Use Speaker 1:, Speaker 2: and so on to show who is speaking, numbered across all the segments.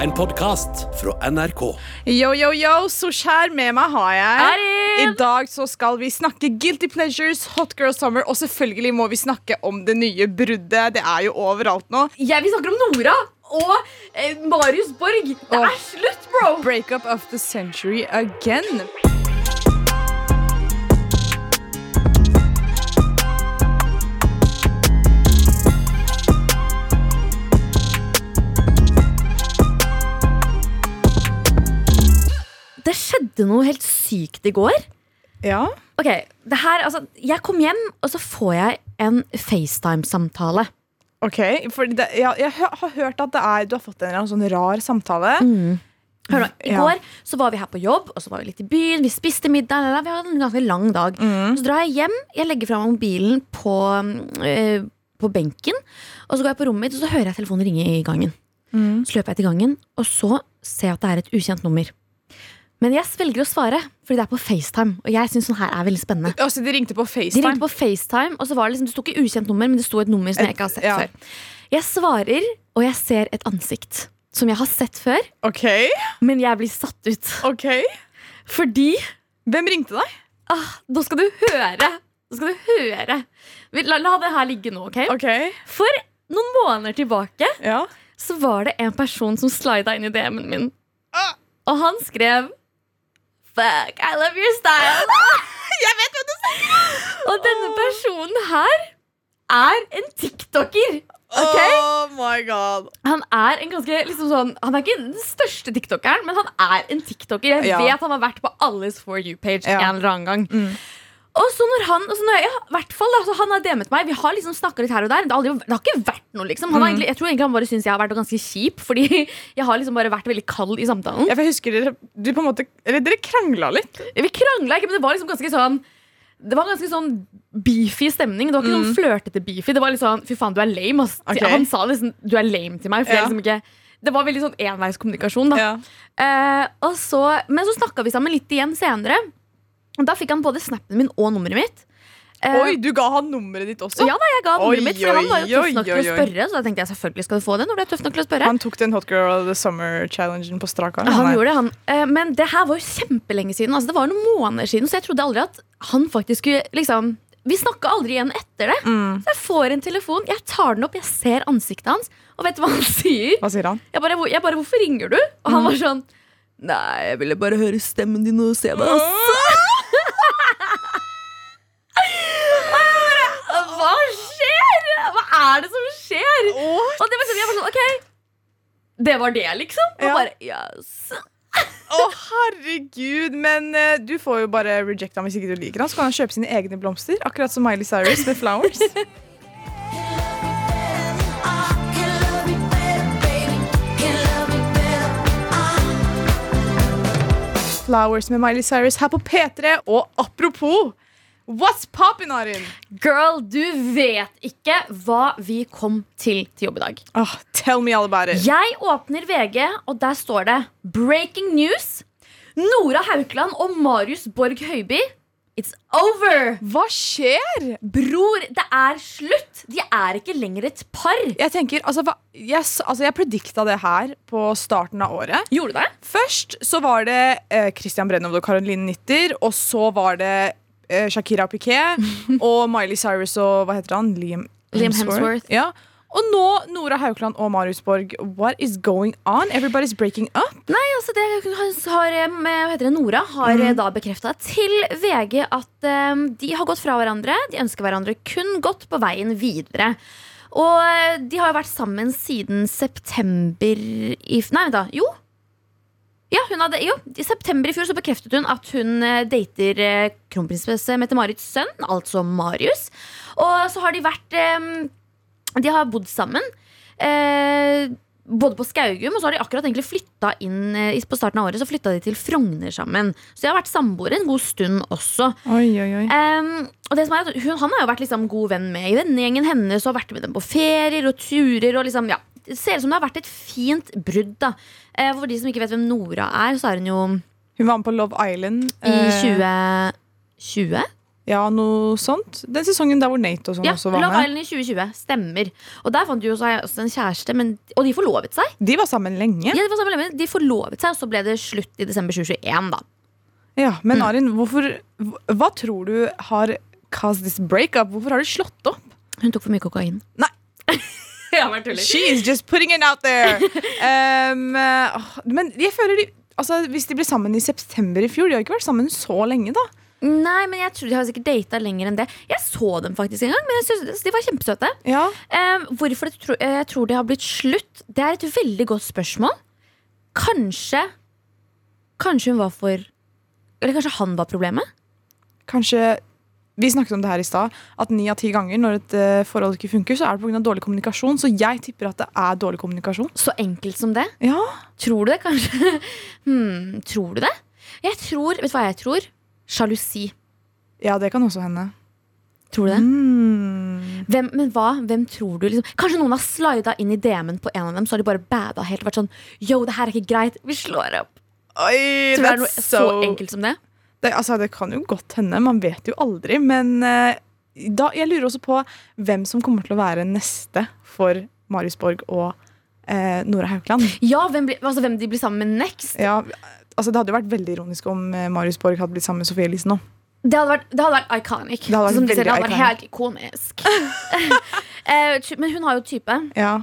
Speaker 1: En podkast fra NRK.
Speaker 2: Yo, yo, yo, så skjær med meg har jeg.
Speaker 3: Erin!
Speaker 2: I dag så skal vi snakke Guilty Pleasures, Hot Girl Summer, og selvfølgelig må vi snakke om det nye bruddet. Det er jo overalt nå.
Speaker 3: Jeg vil snakke om Nora og eh, Marius Borg. Det
Speaker 2: Åh.
Speaker 3: er slutt, bro!
Speaker 2: Breakup of the century again.
Speaker 3: Det skjedde noe helt sykt i går.
Speaker 2: Ja,
Speaker 3: Ok, det her, altså, Jeg kom hjem, og så får jeg en FaceTime-samtale.
Speaker 2: ok. For det, ja, jeg hø- har hørt at det er, du har fått en eller annen sånn rar samtale.
Speaker 3: Mm. Hør nå, I
Speaker 2: Ja.
Speaker 3: går så var vi her på jobb, og så var vi litt i byen. Vi spiste middag. la, la, Vi hadde en ganske lang dag.
Speaker 2: Mm.
Speaker 3: Så drar jeg hjem, jeg legger fra meg mobilen på, eh, på benken. Og så går jeg på rommet mitt, og så hører jeg telefonen ringe i gangen.
Speaker 2: Mm.
Speaker 3: Så løper jeg til gangen, og så ser jeg at det er et ukjent nummer. Men jeg velger å svare, fordi det er på FaceTime. Og jeg synes sånn her er veldig spennende
Speaker 2: Altså, de ringte på
Speaker 3: De
Speaker 2: FaceTime.
Speaker 3: ringte på FaceTime, og så var det liksom, det sto ikke ukjent nummer, men det sto et nummer som jeg ikke har sett
Speaker 2: ja.
Speaker 3: før. Jeg svarer, og jeg ser et ansikt som jeg har sett før,
Speaker 2: Ok,
Speaker 3: men jeg blir satt ut.
Speaker 2: ok.
Speaker 3: Fordi
Speaker 2: Hvem ringte deg?
Speaker 3: ah, Nå skal du høre! Nå skal du høre. Vi- La, la det her ligge nå, OK?
Speaker 2: Ok,
Speaker 3: For noen måneder tilbake
Speaker 2: ja.
Speaker 3: så var det en person som slida inn i DM-en min.
Speaker 2: Ah.
Speaker 3: Og han skrev Fuck, I love your style.
Speaker 2: Jeg vet hvem du
Speaker 3: Og denne personen her er en tiktoker. Ok?
Speaker 2: Oh my god.
Speaker 3: Han er en ganske liksom sånn Han er ikke den største tiktokeren, men han er en tiktoker. Jeg
Speaker 2: Ja.
Speaker 3: vet han har vært på alles For you-page
Speaker 2: Ja. Mm.
Speaker 3: en eller annen gang. Og så når han, og så når jeg, ja, i hvert fall da, så Han har DM'et meg. Vi har liksom snakka litt her og der. Det har, aldri, det har ikke vært noe, liksom.
Speaker 2: Mm.
Speaker 3: Han har egentlig, jeg tror egentlig han bare syns jeg har vært ganske kjip, fordi jeg har liksom bare vært veldig kald i samtalen.
Speaker 2: Ja, for jeg husker dere, du på en måte, eller dere krangla litt.
Speaker 3: Vi krangla ikke, men det var liksom ganske sånn det var ganske sånn beefy stemning. Det var ikke sånn flørtete beefy. Det var litt sånn, fy faen, du er lame. Ass.
Speaker 2: Mm. Ok.
Speaker 3: Han sa liksom, du er lame til meg. For
Speaker 2: Ja.
Speaker 3: jeg liksom ikke, det var veldig sånn enveiskommunikasjon. da.
Speaker 2: Ja.
Speaker 3: Eh, og så, men så snakka vi sammen litt igjen senere. Og Da fikk han både snappen min og nummeret mitt. Eh,
Speaker 2: Oi, du ga han nummeret ditt også?
Speaker 3: ja da, jeg ga han
Speaker 2: Oi,
Speaker 3: nummeret mitt, for han var jo
Speaker 2: oi,
Speaker 3: tøff nok
Speaker 2: oi,
Speaker 3: til å
Speaker 2: oi.
Speaker 3: spørre. Så da tenkte jeg selvfølgelig skal du få det når du er tøff nok til å spørre.
Speaker 2: Han tok den Hot Girl of the Summer-challengen på strak arm.
Speaker 3: Han,
Speaker 2: nei.
Speaker 3: gjorde det, han. Eh, men det her var jo kjempelenge siden. Altså, det var noen måneder siden, så jeg trodde aldri at han faktisk skulle liksom Vi snakka aldri igjen etter det.
Speaker 2: Mm.
Speaker 3: Så jeg får en telefon, jeg tar den opp, jeg ser ansiktet hans, og vet du hva han sier?
Speaker 2: Hva sier han?
Speaker 3: Jeg bare, hvor- jeg bare 'Hvorfor ringer du?' Og
Speaker 2: Mm.
Speaker 3: han var sånn Nei, jeg ville bare høre stemmen din og se deg. altså.» ass.»
Speaker 2: Mm.
Speaker 3: Hva skjer? Hva er det som skjer?
Speaker 2: Åh,
Speaker 3: Og det var sånn, jeg var sånn, ok Det var det liksom Og
Speaker 2: Ja.
Speaker 3: bare, yes
Speaker 2: Å, herregud! Men eh, du får jo bare reject ham hvis ikke du liker ham. Så kan han kjøpe sine egne blomster, akkurat som Miley Cyrus med Flowers. Flowers med Miley Cyrus her på P3. Og apropos What's poppin', Arin?
Speaker 3: Girl, du vet ikke hva vi kom til til jobb i dag
Speaker 2: Åh, tell me all about it.
Speaker 3: Jeg åpner VG, og der står det Breaking news Nora Haukeland og Marius Borg Høiby It's over
Speaker 2: Hva skjer?
Speaker 3: Bror, det er slutt De er ikke lenger et par
Speaker 2: Jeg tenker, altså, hva, jeg, s- altså, jeg predikta det her på starten av året.
Speaker 3: Gjorde du det?
Speaker 2: Først så var det eh, Christian Brennov og Caroline Nitter, og så var det eh, Shakira og Piquet og Miley Cyrus og hva heter han? Liam
Speaker 3: Liam Hemsworth.
Speaker 2: Ja. Og nå Nora Haukeland og Marius Borg. What is going on? Everybody's breaking up.
Speaker 3: Nei, altså det har- har, em, hva heter det, Nora har eh, da bekrefta til VG at em, de har gått fra hverandre. De ønsker hverandre kun godt på veien videre. Og eh, de har jo vært sammen siden september i f- Nei, vent da. Jo. Ja, hun hadde, jo. I september i fjor så bekreftet hun at hun eh, dater eh, kronprinsesse Mette-Marits sønn, altså Marius. Og så har de vært em, De har bodd sammen. Eh, både på Skaugum, og så har de akkurat egentlig flytta inn eh, i- på starten av året, så flytta de til Frogner sammen. Så de har vært samboere en god stund også.
Speaker 2: Oi, oi, oi.
Speaker 3: Em, og det som er at hun, Han har jo vært liksom god venn med i vennegjengen hennes og har vært med dem på ferier og turer. og liksom, ja, Det ser ut som det har vært et fint brudd. da Eh, For de som ikke vet hvem Nora er, så er hun jo
Speaker 2: Eh. Hun var med på Love Island.
Speaker 3: i
Speaker 2: eh,
Speaker 3: 2020.
Speaker 2: Ja, noe sånt. Den sesongen der hvor Nate og sånn
Speaker 3: Ja,
Speaker 2: også var
Speaker 3: Love
Speaker 2: med.
Speaker 3: Island i 2020. Stemmer. Og der fant du jo seg også en kjæreste, men, og de forlovet seg.
Speaker 2: De var sammen lenge.
Speaker 3: Ja, de, var sammen, lenge, men de forlovet seg, og så ble det slutt i desember 2021, da.
Speaker 2: Ja,
Speaker 3: Mm.
Speaker 2: Men Arin, hvorfor, hva- hva tror du har caused this breakup? Hvorfor har de slått opp?
Speaker 3: Hun tok for mye kokain.
Speaker 2: Nei.
Speaker 3: Jeg bare tuller.
Speaker 2: She is just putting it out there! Um, eh, åh, men jeg føler de Altså, Hvis de ble sammen i september i fjor De har ikke vært sammen så lenge, da.
Speaker 3: Nei, men jeg tror de har sikkert data lenger enn det. Jeg så dem faktisk en gang, men jeg synes altså, de var kjempesøte.
Speaker 2: Ja,
Speaker 3: Eh, hvorfor jeg tror, jeg tror det har blitt slutt, det er et veldig godt spørsmål. Kanskje Kanskje hun var for Eller kanskje han var problemet?
Speaker 2: kanskje Vi snakket om det her i stad, at ni av ti ganger når et eh, forhold ikke funker, så er det pga. dårlig kommunikasjon. Så jeg tipper at det er dårlig kommunikasjon.
Speaker 3: Så enkelt som det?
Speaker 2: Ja,
Speaker 3: Tror du det, kanskje? hmm, tror du det? Jeg tror, Vet du hva jeg tror? Sjalusi.
Speaker 2: ja det kan også hende.
Speaker 3: Tror du det?
Speaker 2: Mm.
Speaker 3: Hvem, men hva? Hvem tror du? Liksom? Kanskje noen har slida inn i DM-en på en av dem, så har de bare bada helt og vært sånn Yo, det her er ikke greit. Vi slår opp.
Speaker 2: Oi,
Speaker 3: Tror du det er noe
Speaker 2: that's
Speaker 3: så
Speaker 2: so-
Speaker 3: enkelt som det?
Speaker 2: Det, altså, det kan jo godt hende, man vet jo aldri. Men eh, da, jeg lurer også på hvem som kommer til å være neste for Marius Borg og eh, Nora Haukeland.
Speaker 3: Ja, hvem, blir- altså, hvem de blir sammen med next?
Speaker 2: Ja, altså, det hadde jo vært veldig ironisk om eh, Marius Borg hadde blitt sammen med Sofie Elise nå.
Speaker 3: Det hadde vært, det hadde vært iconic.
Speaker 2: hadde vært
Speaker 3: Som de sier,
Speaker 2: veldig
Speaker 3: det hadde vært helt ikonisk. Eh, ty- men hun har jo type.
Speaker 2: Ja.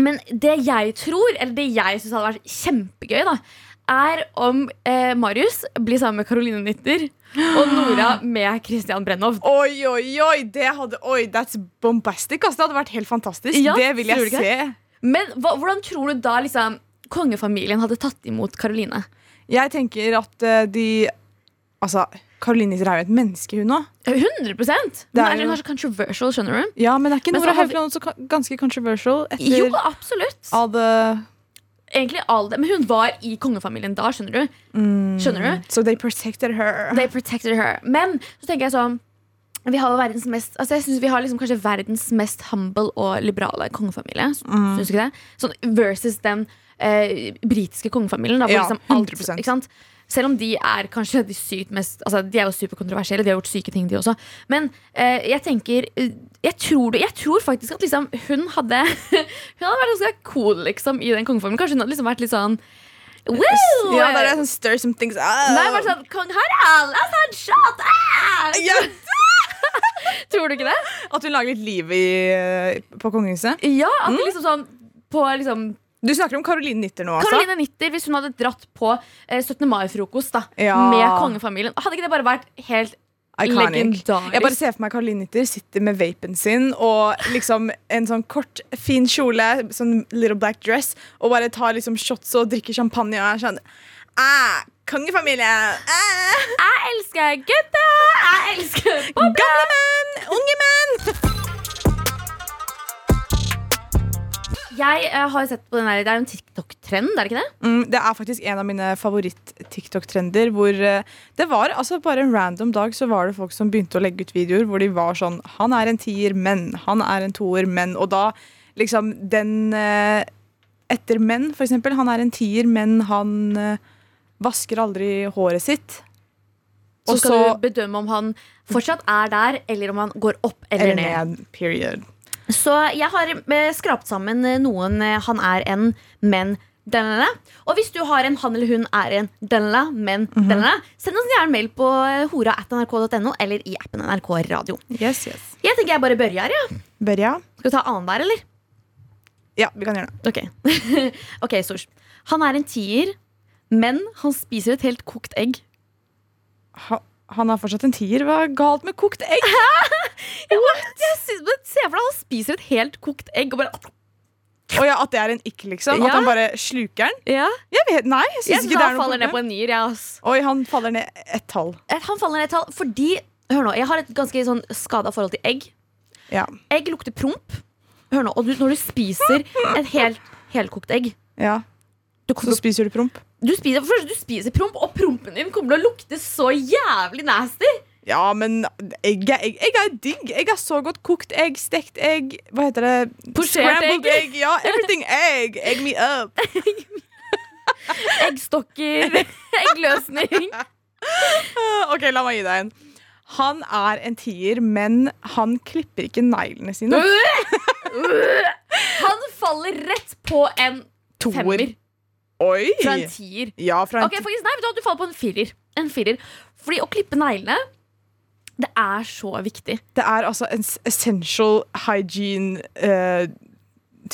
Speaker 3: Men det jeg tror, eller det jeg syns hadde vært kjempegøy, da, er om eh, Marius blir sammen med Caroline Nitter og Nora med Christian Brennov.
Speaker 2: Oi, oi, oi! Det hadde, oi, that's bombastic. Altså, det hadde vært helt fantastisk.
Speaker 3: Ja,
Speaker 2: det vil
Speaker 3: tror
Speaker 2: jeg
Speaker 3: du ikke
Speaker 2: se.
Speaker 3: Men hva, hvordan tror du da liksom kongefamilien hadde tatt imot Caroline?
Speaker 2: Jeg tenker at eh, de Altså, Karoline Nisser er jo et menneske, hun òg.
Speaker 3: 100 Hun
Speaker 2: Det er
Speaker 3: er,
Speaker 2: jo-
Speaker 3: hun er så controversial, skjønner du.
Speaker 2: Ja, men er ikke
Speaker 3: Men så
Speaker 2: Nora
Speaker 3: har vi-
Speaker 2: Haukeland også ka- ganske controversial etter
Speaker 3: Jo, absolutt.
Speaker 2: all the
Speaker 3: Egentlig all det. Men hun var i kongefamilien da, skjønner du.
Speaker 2: mm,
Speaker 3: Skjønner du?
Speaker 2: So they protected her.
Speaker 3: They protected her. Men så tenker jeg sånn vi har jo verdens mest, altså jeg synes vi har liksom kanskje verdens mest humble og liberale kongefamilie.
Speaker 2: Mm.
Speaker 3: Synes du ikke det? Sånn versus den eh, britiske kongefamilien. Da, hvor
Speaker 2: Ja,
Speaker 3: liksom alt,
Speaker 2: 100%.
Speaker 3: ikke sant? Selv om de er kanskje de sykt mest altså De er jo superkontroversielle, de har gjort syke ting, de også. Men eh, jeg tenker eh, jeg tror, det, jeg tror faktisk at liksom hun hadde Hun hadde vært ganske cool liksom i den kongefamilien. Kanskje hun hadde liksom vært litt sånn Wow!
Speaker 2: Ja, det er det som stir some things up.
Speaker 3: Nei, bare sånn Kong Harald, altså han shot ass!
Speaker 2: Ja,
Speaker 3: Tror du ikke det?
Speaker 2: at hun lager litt liv i, eh, på kongehuset.
Speaker 3: Ja, at
Speaker 2: Mm.
Speaker 3: det liksom sånn på liksom
Speaker 2: Du snakker om Caroline Nitter nå, altså?
Speaker 3: Caroline Nitter, hvis hun hadde dratt på eh, 17. mai-frokost da
Speaker 2: Ja.
Speaker 3: med kongefamilien, hadde ikke det bare vært helt
Speaker 2: Iconic.
Speaker 3: legendarisk?
Speaker 2: Jeg bare ser for meg Caroline Nitter sitter med vapen sin og liksom en sånn kort, fin kjole, sånn little black dress, og bare tar liksom shots og drikker champagne og er sånn ah, Kongefamilie! Ah,
Speaker 3: Jeg elsker gutta! Jeg elsker pop!
Speaker 2: gamle menn! Unge menn!
Speaker 3: Jeg eh, har sett på den der, det er jo en TikTok-trend, er det ikke det?
Speaker 2: Mm, det er faktisk en av mine favoritt-TikTok-trender. Hvor eh, det var altså bare en random dag så var det folk som begynte å legge ut videoer hvor de var sånn Han er en tier, men. Han er en toer, men. Og da liksom den eh, etter menn, for eksempel. Han er en tier, men han eh, vasker aldri håret sitt.
Speaker 3: Så
Speaker 2: Og
Speaker 3: skal
Speaker 2: så
Speaker 3: du bedømme om han fortsatt er der, eller om han går opp eller,
Speaker 2: eller
Speaker 3: ned.
Speaker 2: ned. Period.
Speaker 3: Så jeg har eh, skrapt sammen eh, noen eh, han er en, men denne. Og hvis du har en han eller hun er en denne, men denne, send oss gjerne mail på eh, hora.nrk.no eller i appen NRK Radio.
Speaker 2: Yes, yes.
Speaker 3: Jeg tenker jeg bare børjar, ja.
Speaker 2: Børja?
Speaker 3: Skal vi ta annenhver, eller?
Speaker 2: Ja, vi kan gjøre det.
Speaker 3: Ok, Ok, Sors. Han er en tier, men han spiser et helt kokt egg.
Speaker 2: Ha, han er fortsatt en tier. Hva er galt med kokt egg?
Speaker 3: Jeg synes, men Se for deg han spiser et helt kokt egg og bare
Speaker 2: Og ja, At det er en ikke, liksom?
Speaker 3: Ja.
Speaker 2: At han bare sluker den?
Speaker 3: ja.
Speaker 2: Jeg vet, nei, jeg
Speaker 3: Jeg
Speaker 2: synes
Speaker 3: synes
Speaker 2: ikke det er
Speaker 3: han
Speaker 2: noe
Speaker 3: faller ned på
Speaker 2: problem.
Speaker 3: en nier, jeg, ja, ass.
Speaker 2: Oi, han faller ned ett tall.
Speaker 3: Eh, Han faller ned i tall fordi Hør nå, jeg har et ganske sånn skada forhold til egg.
Speaker 2: Ja.
Speaker 3: Egg lukter promp. Hør nå, og du, Når du spiser et helt, helkokt egg
Speaker 2: ja.
Speaker 3: du,
Speaker 2: Så
Speaker 3: kommer, til
Speaker 2: spiser du promp?
Speaker 3: å- du, spiser, for det første, du spiser promp, og prompen din kommer til å lukte så jævlig nasty.
Speaker 2: Ja, men egg er egg. Egg er digg. Egg er så godt. Kokt egg, stekt egg, hva heter det?
Speaker 3: Posjert
Speaker 2: Scrambled
Speaker 3: egg.
Speaker 2: egg. Ja, everything egg. Egg me up.
Speaker 3: Eggstokker, eggløsning.
Speaker 2: Ah, OK, la meg gi deg en. Han er en tier, men han klipper ikke neglene sine.
Speaker 3: Han faller rett på en femmer
Speaker 2: Oi!
Speaker 3: fra en tier.
Speaker 2: Ja, fra en
Speaker 3: Ok, faktisk, nei, vet du hva, du faller på en firer. En firer. Fordi å klippe neglene, det er så viktig.
Speaker 2: Det er altså en s- essential hygiene eh,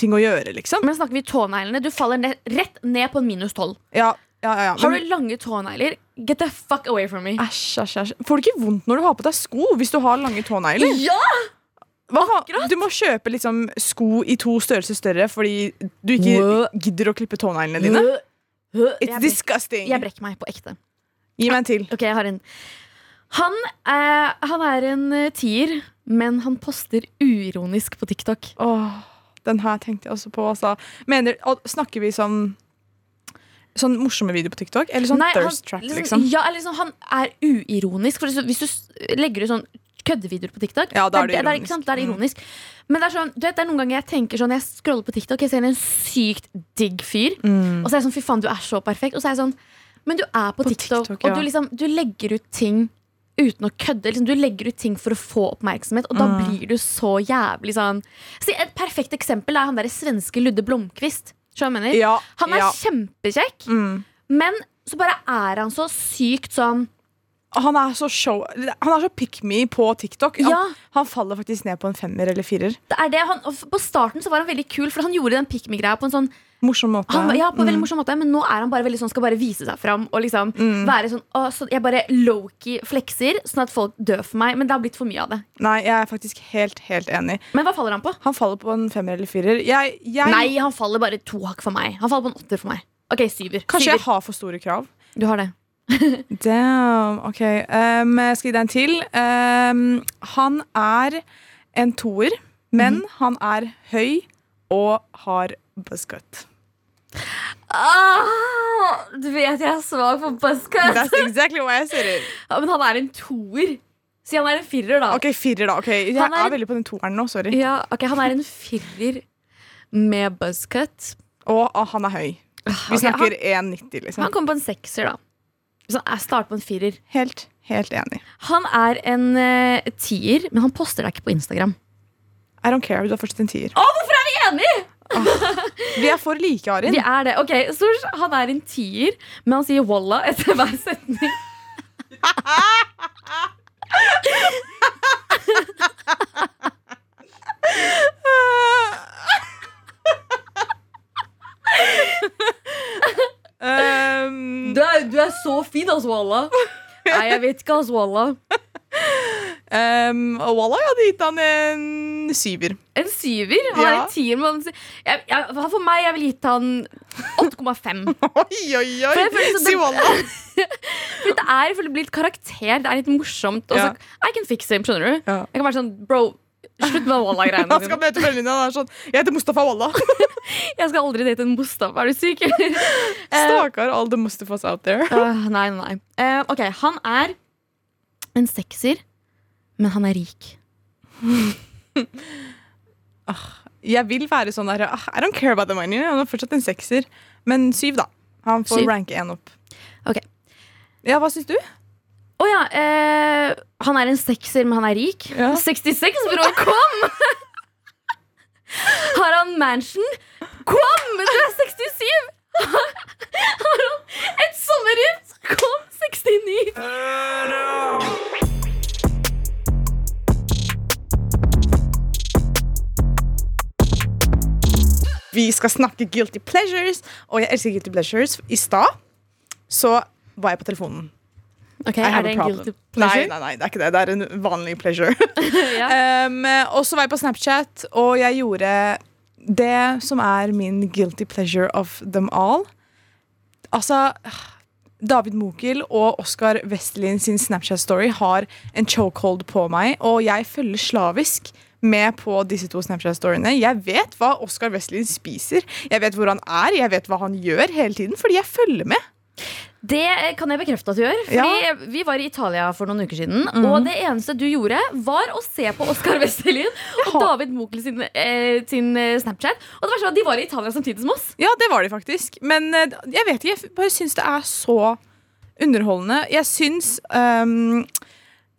Speaker 2: ting å gjøre, liksom.
Speaker 3: Men snakker vi tåneglene, du faller ned, rett ned på en minus tolv.
Speaker 2: Ja, ja, ja. ja.
Speaker 3: Har
Speaker 2: Men-
Speaker 3: du lange tånegler, get the fuck away from me.
Speaker 2: Æsj, æsj, æsj. Får du ikke vondt når du har på deg sko hvis du har lange tånegler?
Speaker 3: Ja!
Speaker 2: Hva fa- Du må kjøpe liksom, sko i to størrelser større fordi du ikke
Speaker 3: Wø.
Speaker 2: gidder å klippe tåneglene dine. It's
Speaker 3: Jeg brek-
Speaker 2: disgusting.
Speaker 3: Jeg brekker meg på ekte.
Speaker 2: Gi meg en til.
Speaker 3: Ok, jeg har en. Han, eh, han er en eh, tier, men han poster uironisk på TikTok.
Speaker 2: Åh, den her tenkte jeg også på. Altså. Mener, og snakker vi sånn Sånn morsomme videoer på TikTok? Eller sånn
Speaker 3: Nei, han-
Speaker 2: thirst trap, liksom?
Speaker 3: Ja, eller liksom, han er uironisk. For hvis du s- legger ut sånn køddevideoer på TikTok,
Speaker 2: Ja, da er det
Speaker 3: det,
Speaker 2: ironisk.
Speaker 3: ikke sant? Da er det
Speaker 2: Mm.
Speaker 3: ironisk. Men det er, sånn, du vet, det er noen ganger jeg tenker sånn Jeg scroller på TikTok, jeg ser en sykt digg fyr,
Speaker 2: Mm.
Speaker 3: og så er jeg sånn fy faen, du er så perfekt. Og så er jeg sånn Men du er
Speaker 2: På
Speaker 3: på, TikTok,
Speaker 2: TikTok,
Speaker 3: og
Speaker 2: ja.
Speaker 3: du, liksom, du legger ut ting uten å kødde. Liksom, du legger ut ting for å få oppmerksomhet, og da
Speaker 2: Mm.
Speaker 3: blir du så jævlig sånn Se, Et perfekt eksempel er han derre svenske Ludde Blomkvist. Skjønner du hva jeg mener?
Speaker 2: Ja,
Speaker 3: Han er
Speaker 2: ja.
Speaker 3: kjempekjekk,
Speaker 2: Mm.
Speaker 3: men så bare er han så sykt sånn
Speaker 2: Han er så show Han er så pick me på TikTok. Han,
Speaker 3: Ja.
Speaker 2: han faller faktisk ned på en femmer eller firer.
Speaker 3: det er det, han, og f- På starten så var han veldig kul, for han gjorde den pick me-greia på en sånn
Speaker 2: Morsom måte.
Speaker 3: han, var- ja, på en veldig
Speaker 2: Mm.
Speaker 3: morsom måte, men nå er han bare veldig sånn, skal bare vise seg fram. Og liksom være sånn, å, så Jeg bare low-key flekser, sånn at folk dør for meg. Men det har blitt for mye av det.
Speaker 2: Nei, jeg er faktisk helt, helt enig.
Speaker 3: Men hva faller han på?
Speaker 2: Han faller på en femmer eller firer. Jeg, jeg,
Speaker 3: Nei, han faller bare to hakk for meg. Han faller på en åtter for meg. Ok, syver.
Speaker 2: kanskje jeg
Speaker 3: syver.
Speaker 2: har for store krav.
Speaker 3: Du har det.
Speaker 2: Damn, ok um, jeg Skal gi deg en til um, Han er en toer Men
Speaker 3: Mhm.
Speaker 2: han er høy Og har buzzcut
Speaker 3: Ah, du vet jeg er svak for buzzcut.
Speaker 2: That's exactly what jeg sier
Speaker 3: Ja, men han er en toer. Si han er en firer, da.
Speaker 2: Ok, firer da, ok Jeg
Speaker 3: Han
Speaker 2: er,
Speaker 3: er-
Speaker 2: veldig på den toeren nå, sorry
Speaker 3: Ja, ok, Han er en firer med buzzcut.
Speaker 2: Og ah, han er høy Vi
Speaker 3: Ok,
Speaker 2: snakker 1,90 liksom
Speaker 3: Han, han kommer på en sekser, da. Så jeg starter på en firer.
Speaker 2: Helt, helt enig
Speaker 3: Han er en eh, tier, men han poster deg ikke på Instagram.
Speaker 2: I don't care, du er fortsatt en tier
Speaker 3: Å, hvorfor er vi enige?!
Speaker 2: Vi er for like, Arin
Speaker 3: Vi er det. Ok, så Han er en tier, men han sier walla etter hver setning.
Speaker 2: um,
Speaker 3: er, så fin, altså, walla. Nei, jeg vet ikke, altså, walla.
Speaker 2: um, Og Walla, jeg hadde gitt han en syver
Speaker 3: En syver? Han er
Speaker 2: Ja.
Speaker 3: en tier, men han sier jeg, jeg, For meg, jeg ville gitt han 8,5.
Speaker 2: Oi, oi, oi!
Speaker 3: For jeg føler så
Speaker 2: Si
Speaker 3: det-
Speaker 2: Walla.
Speaker 3: For det er for det blir litt karakter, det er litt morsomt. Og så, I can fix him, skjønner du?
Speaker 2: Ja.
Speaker 3: Jeg kan være sånn, bro, slutt med walla-greiene.
Speaker 2: Han skal
Speaker 3: dine.
Speaker 2: møte vennene dine. Han er sånn Jeg heter Mustafa Walla.
Speaker 3: Ehm, Jeg skal aldri date en Mustafa, er du syk? Eh,
Speaker 2: Stakkar alle the Mustafas out there.
Speaker 3: øh, nei, nei, nei. Eh, ok, han er en sekser, men han er rik.
Speaker 2: Jeg vil være sånn der ah, I don't care about the money. Han er fortsatt en sekser. Men syv, da. Han får
Speaker 3: Syv.
Speaker 2: ranke én opp.
Speaker 3: Ok.
Speaker 2: Ja, hva syns du?
Speaker 3: Å ja, eh, han er en sekser, men han er rik.
Speaker 2: Ja.
Speaker 3: 66, bro, kom! Har han mansion? Kom, du er 67! Har han et sommerhus? Kom, 69!
Speaker 2: Vi skal snakke guilty pleasures, og jeg elsker guilty pleasures. I stad så var jeg på telefonen.
Speaker 3: Ok,
Speaker 2: I
Speaker 3: Er
Speaker 2: have a
Speaker 3: det en
Speaker 2: problem.
Speaker 3: guilty
Speaker 2: Nei,
Speaker 3: pleasure?
Speaker 2: nei, nei, det er ikke det. Det er en vanlig pleasure.
Speaker 3: ja.
Speaker 2: Um, og så var jeg på Snapchat, og jeg gjorde det som er min guilty pleasure of them all. Altså David Mokel og Oskar Vestlin sin Snapchat-story har en chokehold på meg, og jeg følger slavisk med på disse to Snapchat-storyene. Jeg vet hva Oskar Vestlin spiser, jeg vet hvor han er, jeg vet hva han gjør hele tiden, fordi jeg følger med.
Speaker 3: Det eh, kan jeg bekrefte at du gjør. Fordi
Speaker 2: Ja. Mhm.
Speaker 3: Vi var i Italia for noen uker siden, og det eneste du gjorde, var å se på Oskar Westerlin og
Speaker 2: har-
Speaker 3: David Mokel sin, eh, sin eh, Snapchat. Og det verste var at de var i Italia samtidig som oss.
Speaker 2: Ja, det var de faktisk. Men eh, jeg vet ikke, jeg f- bare syns det er så underholdende. Jeg syns ehm,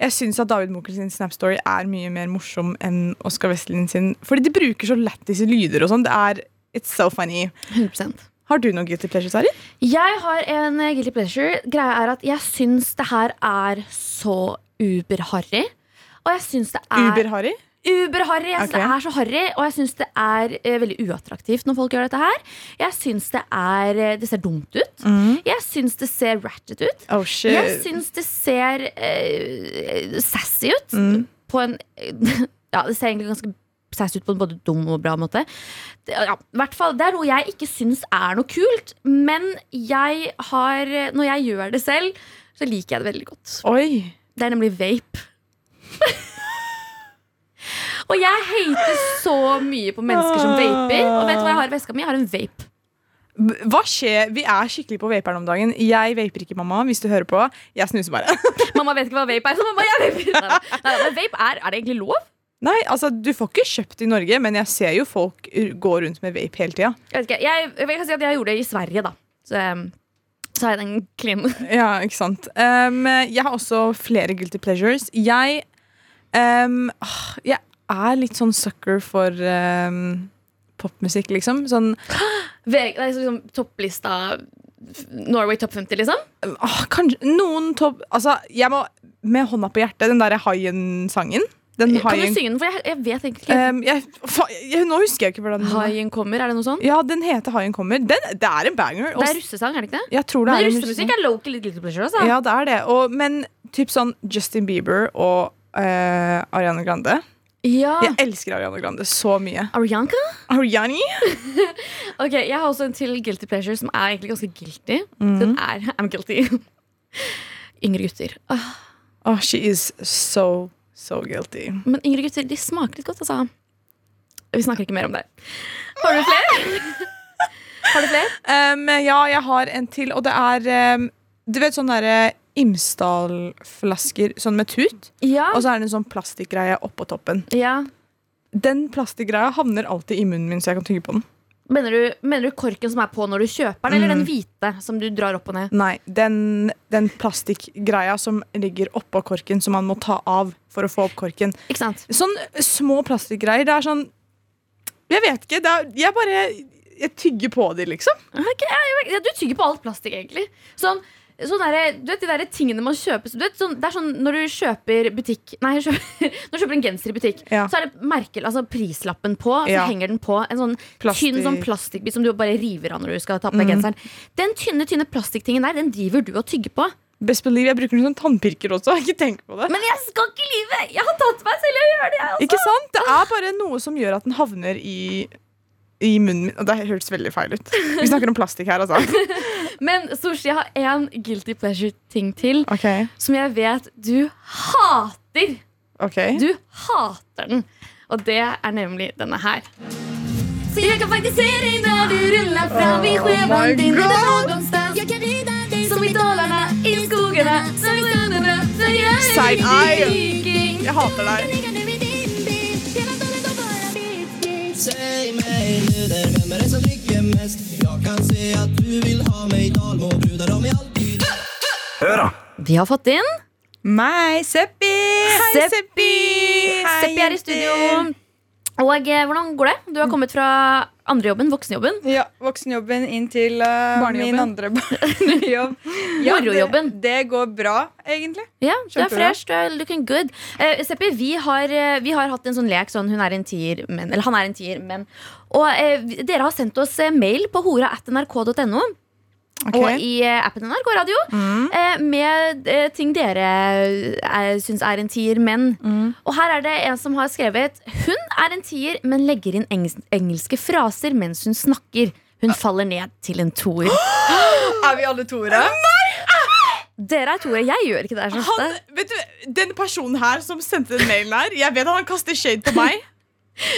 Speaker 2: Jeg syns at David Munkel sin Snap-story er mye mer morsom enn Oskar Westlin sin. Fordi de bruker så lættis lyder og sånn. Det er It's so funny.
Speaker 3: 100
Speaker 2: Har du noen guilty pleasures, Ari?
Speaker 3: Jeg har en eh, guilty pleasure. Greia er at jeg syns det her er så uber-harry. Og jeg syns det er
Speaker 2: Uber-Harry?
Speaker 3: uber-harry. Jeg syns det
Speaker 2: Ok.
Speaker 3: er så harry, og jeg syns det er eh, veldig uattraktivt når folk gjør dette her. Jeg syns det er eh, Det ser dumt ut.
Speaker 2: Mhm.
Speaker 3: Jeg syns det ser ratchet ut.
Speaker 2: Oh shit.
Speaker 3: Jeg syns det ser eh, sassy ut. På en Ja, det ser egentlig ganske sassy ut på en både dum og bra måte. Det, ja, i hvert fall, det er noe jeg ikke syns er noe kult, men jeg har Når jeg gjør det selv, så liker jeg det veldig godt.
Speaker 2: Oi.
Speaker 3: Det er nemlig vape. og jeg hater så mye på mennesker som vaper. Og vet du hva jeg har i veska mi? Jeg har en vape.
Speaker 2: B- Hva skjer? Vi er skikkelig på vaperen om dagen. Jeg vaper ikke, mamma, hvis du hører på. Jeg snuser bare.
Speaker 3: Mamma vet ikke hva vape er, så mamma, jeg vaper. Neida. Neida, men vape er, er det egentlig lov?
Speaker 2: Nei, altså, du får ikke kjøpt i Norge, men jeg ser jo folk r- gå rundt med vape hele tida.
Speaker 3: Jeg vet ikke, jeg, jeg kan si at jeg gjorde det i Sverige, da. Så, um, så har jeg den klin.
Speaker 2: Ja, ikke sant. Ehm, jeg har også flere guilty pleasures. Jeg ehm, ah, Jeg er litt sånn sucker for ehm, popmusikk, liksom. Sånn
Speaker 3: VG, det er liksom topplista f- Norway Top 50, liksom.
Speaker 2: ah, Kanskje noen topp Altså, jeg må med hånda på hjertet, den derre Haien-sangen. Den
Speaker 3: Kan du
Speaker 2: Mm, haien
Speaker 3: synge den, for jeg, jeg vet egentlig ikke.
Speaker 2: Ehm, jeg, fa, jeg, Nå husker jeg ikke hvordan den
Speaker 3: Haien kommer, er det noe sånt?
Speaker 2: Ja, den heter Haien kommer. Den, det er en banger. og
Speaker 3: Det er russesang, er det ikke det?
Speaker 2: jeg tror det
Speaker 3: Men
Speaker 2: er en
Speaker 3: russemusikk er local litt little pleasure, altså.
Speaker 2: Ja, det er det. Og, men typ sånn Justin Bieber og eh, Ariana Grande.
Speaker 3: Ja.
Speaker 2: Jeg elsker Ariana Grande så mye.
Speaker 3: Arianka?
Speaker 2: Ariani?
Speaker 3: Ok, Jeg har også en til guilty pleasure som er egentlig ganske guilty.
Speaker 2: Mm.
Speaker 3: Den er I'm guilty. Yngre gutter. Åh,
Speaker 2: Oh, she is so, so guilty.
Speaker 3: Men yngre gutter de smaker litt godt, altså. Vi snakker ikke mer om det. Har du flere? har du flere?
Speaker 2: Um, ja, jeg har en til, og det er um, Du vet sånne derre Imsdal-flasker sånn med tut,
Speaker 3: Ja.
Speaker 2: og så er det en sånn plastikkgreie oppå toppen.
Speaker 3: ja.
Speaker 2: Den plastikkgreia havner alltid i munnen min, så jeg kan tygge på den.
Speaker 3: Mener du, mener du korken som er på når du kjøper den,
Speaker 2: Mm.
Speaker 3: eller den hvite som du drar opp og ned?
Speaker 2: Nei, den, den plastikkgreia som ligger oppå korken, som man må ta av for å få opp korken.
Speaker 3: Ikke sant?
Speaker 2: Sånn små plastikkgreier. Det er sånn Jeg vet ikke. Det er, jeg bare Jeg tygger på de, liksom.
Speaker 3: Ok, ja, jeg- ja, du tygger på alt plastikk, egentlig. Sånn, sånn derre- du vet de der tingene man kjøper så du vet, sånn, Det er sånn når du kjøper butikk Nei, kjøper, når du kjøper en genser i butikk,
Speaker 2: Ja.
Speaker 3: så er det merkel, altså prislappen på, så
Speaker 2: Ja.
Speaker 3: henger den på en sånn
Speaker 2: Plastikk.
Speaker 3: tynn sånn plastikkbit som du bare river av når du skal ta på deg
Speaker 2: Mm.
Speaker 3: genseren. Den tynne, tynne plastikktingen der, den driver du og tygger på.
Speaker 2: Best believe jeg bruker den som tannpirker også. Ikke tenk på det.
Speaker 3: Men jeg skal ikke lyve! Jeg har tatt meg selv i å gjøre det, jeg også.
Speaker 2: ikke sant? Det er bare noe som gjør at den havner i i munnen min. Og det hørtes veldig feil ut. Vi snakker om plastikk her, altså.
Speaker 3: Men Sushi, jeg har én guilty pleasure-ting til.
Speaker 2: Ok,
Speaker 3: som jeg vet du hater.
Speaker 2: ok
Speaker 3: Du hater den. Og det er nemlig denne her. Så jeg kan faktisk se deg når du ruller fram i skjeven din eller någonstans. Jeg kan rida deg som i dalarna, i skogene, som i strandene. For jeg er
Speaker 2: Side
Speaker 3: en
Speaker 2: eye.
Speaker 3: viking.
Speaker 2: Jeg hater deg.
Speaker 4: Säg mig nu där, vem är det som dricker mest? Jag kan se att du vill ha mig dalmåbrudar, de är alltid
Speaker 3: Vi har fått inn
Speaker 5: Meg, Seppi!
Speaker 2: Hei, Seppi!
Speaker 3: Seppi er i studio. Og eh, hvordan går det? Du har kommet fra andrejobben, voksenjobben.
Speaker 5: Ja, voksenjobben inn til eh,
Speaker 2: Barnejobben.
Speaker 5: min andre barnejobb. Ja, det,
Speaker 3: Morojobben.
Speaker 5: det går bra, egentlig.
Speaker 3: Ja, du er
Speaker 5: Kjempebra.
Speaker 3: fresh, du er looking good. Eh, Seppi, vi har, eh, vi har hatt en sånn lek sånn hun er en tier, men Eller han er en tier, men Og eh, vi- dere har sendt oss eh, mail på hora at nrk.no.
Speaker 2: Ok.
Speaker 3: Og i eh, appen NRK Radio. Eh, med eh, ting dere eh, syns er en tier, men. Og her er det en som har skrevet Hun er en tier, men legger inn engs engelske fraser mens hun snakker. Hun faller ned til en toer.
Speaker 5: Er vi alle toere?
Speaker 3: Dere er toere. Jeg gjør ikke det sånn? her så ofte.
Speaker 2: Han, vet du, Den personen her som sendte den mailen her, jeg vet han kaster shade på meg.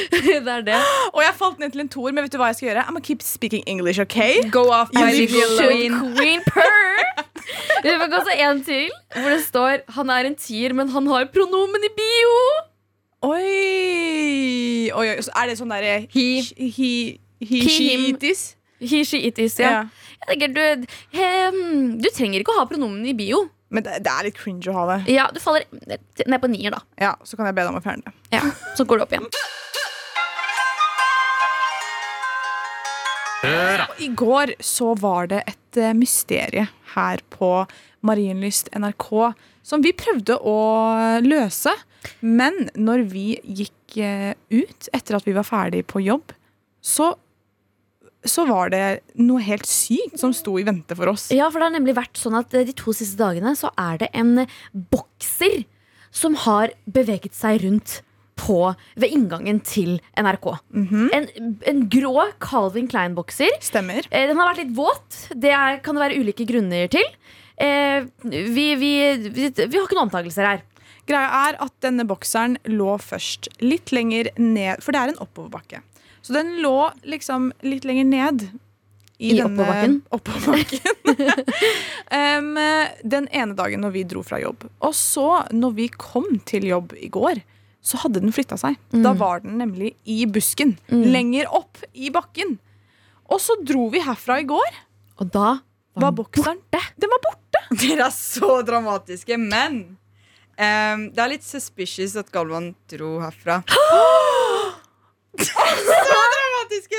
Speaker 3: det er det.
Speaker 2: Og jeg falt ned til en toer, men vet du hva jeg skal gjøre? I'm gonna keep speaking English, ok?
Speaker 5: Go off, my little queen.
Speaker 3: Queen Purr. Vi fikk også en til, hvor det står Han er en tier, men han har pronomen i bio.
Speaker 2: Oi, oi, oi. Så Er det sånn derre
Speaker 5: He.
Speaker 2: he, he
Speaker 3: He,
Speaker 2: she,
Speaker 3: him.
Speaker 2: it is?
Speaker 3: He, she, it is, ja.
Speaker 2: Ja.
Speaker 3: eh, Jeg tenker, du, ehm, du trenger ikke å ha pronomen i bio.
Speaker 2: Men det, det er litt cringe å ha det.
Speaker 3: Ja, Du faller ned på nier, da.
Speaker 2: Ja, Så kan jeg be deg om å fjerne det.
Speaker 3: Ja, Så går det opp igjen.
Speaker 2: I går så var det et eh, mysterie her på Marienlyst NRK som vi prøvde å løse. Men når vi gikk eh, ut etter at vi var ferdig på jobb, så, så var det noe helt sykt som sto i vente for oss.
Speaker 3: Ja, for det har nemlig vært sånn at eh, De to siste dagene så er det en eh, bokser som har beveget seg rundt på, ved inngangen til NRK. Mhm. en, en grå Calvin Klein-bokser.
Speaker 2: Stemmer.
Speaker 3: Eh, Den har vært litt våt. Det er, kan det være ulike grunner til. Eh, vi, vi, vi, vi har ikke noen antakelser her.
Speaker 2: Greia er at denne bokseren lå først litt lenger ned, for det er en oppoverbakke. Så den lå liksom litt lenger ned.
Speaker 3: I oppoverbakken?
Speaker 2: oppoverbakken. Em, den ene dagen når vi dro fra jobb. Og så, når vi kom til jobb i går, så hadde den flytta seg. Da
Speaker 3: Mm.
Speaker 2: var den nemlig i busken. Lenger opp i bakken. Og så dro vi herfra i går.
Speaker 3: Og da
Speaker 2: Var
Speaker 3: var den
Speaker 2: bokseren Den var borte!
Speaker 5: Dere er så dramatiske, men ehm, det er litt suspicious at Galvan dro herfra. så dramatiske!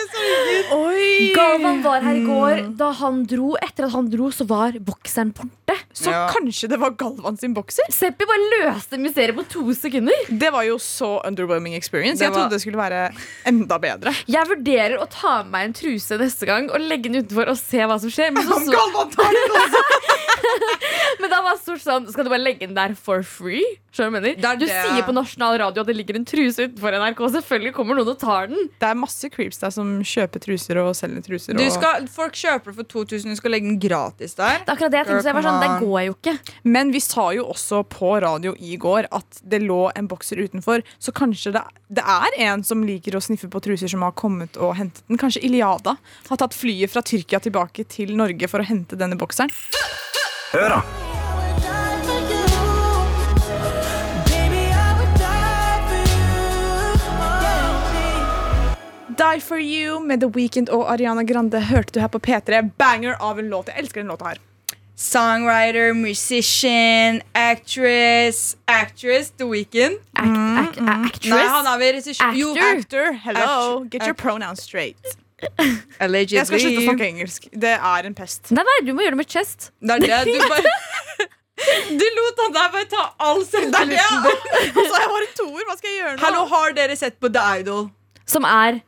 Speaker 5: Sorry, Gud.
Speaker 3: Galvan var her i går. Da han dro, etter at han dro, så var bokseren borte.
Speaker 2: Så
Speaker 5: Ja.
Speaker 2: kanskje det var Galvan sin bokser?
Speaker 3: Seppi bare løste mysteriet på to sekunder.
Speaker 2: Det var jo så underwhelming experience.
Speaker 5: Det
Speaker 2: Jeg
Speaker 5: var-
Speaker 2: trodde det skulle være enda bedre.
Speaker 3: Jeg vurderer å ta med meg en truse neste gang og legge den utenfor og se hva som skjer. Men, så,
Speaker 5: Om
Speaker 3: så,
Speaker 5: Galvan tar det også!
Speaker 3: men da var det stort sånn Skal du bare legge den der for free? Skjønner du hva jeg
Speaker 5: Det er
Speaker 3: mener? Du
Speaker 5: det.
Speaker 3: sier på nasjonal radio at det ligger en truse utenfor NRK. Selvfølgelig kommer noen og tar den.
Speaker 2: Det er masse creeps der som kjøper truser og selger truser.
Speaker 5: Du
Speaker 2: Og...
Speaker 5: skal, folk kjøper det for 2000, du skal legge den gratis der.
Speaker 3: Det er akkurat det jeg tenkte. Så jeg var sånn,
Speaker 5: Girl,
Speaker 3: det
Speaker 5: come on.
Speaker 3: går jo ikke.
Speaker 2: Men vi sa jo også på radio i går at det lå en bokser utenfor, så kanskje det, det er en som liker å sniffe på truser som har kommet og hentet den. Kanskje Iliada har tatt flyet fra Tyrkia tilbake til Norge for å hente denne bokseren. Die for you med The Weeknd og Ariana Grande hørte du her på P3. Banger av en låt. Jeg elsker den låta her.
Speaker 5: Songwriter, musician, actress Actress The Weekend.
Speaker 3: Act, act, actress.
Speaker 5: Mm, Nei, han er vel regissør. Jo,
Speaker 3: Actor.
Speaker 2: Actor, hello.
Speaker 5: Act-
Speaker 2: Get your pronouns straight.
Speaker 5: Allegedly.
Speaker 2: Jeg skal slutte å snakke engelsk. Det er en pest.
Speaker 3: Nei, nei, du må gjøre det med chest.
Speaker 5: Det er det. Du bare Du lot han der bare ta all selvtilliten.
Speaker 2: Altså, jeg har en toer. Hva skal jeg gjøre nå?
Speaker 5: Hallo, har dere sett på The Idol?
Speaker 3: Som er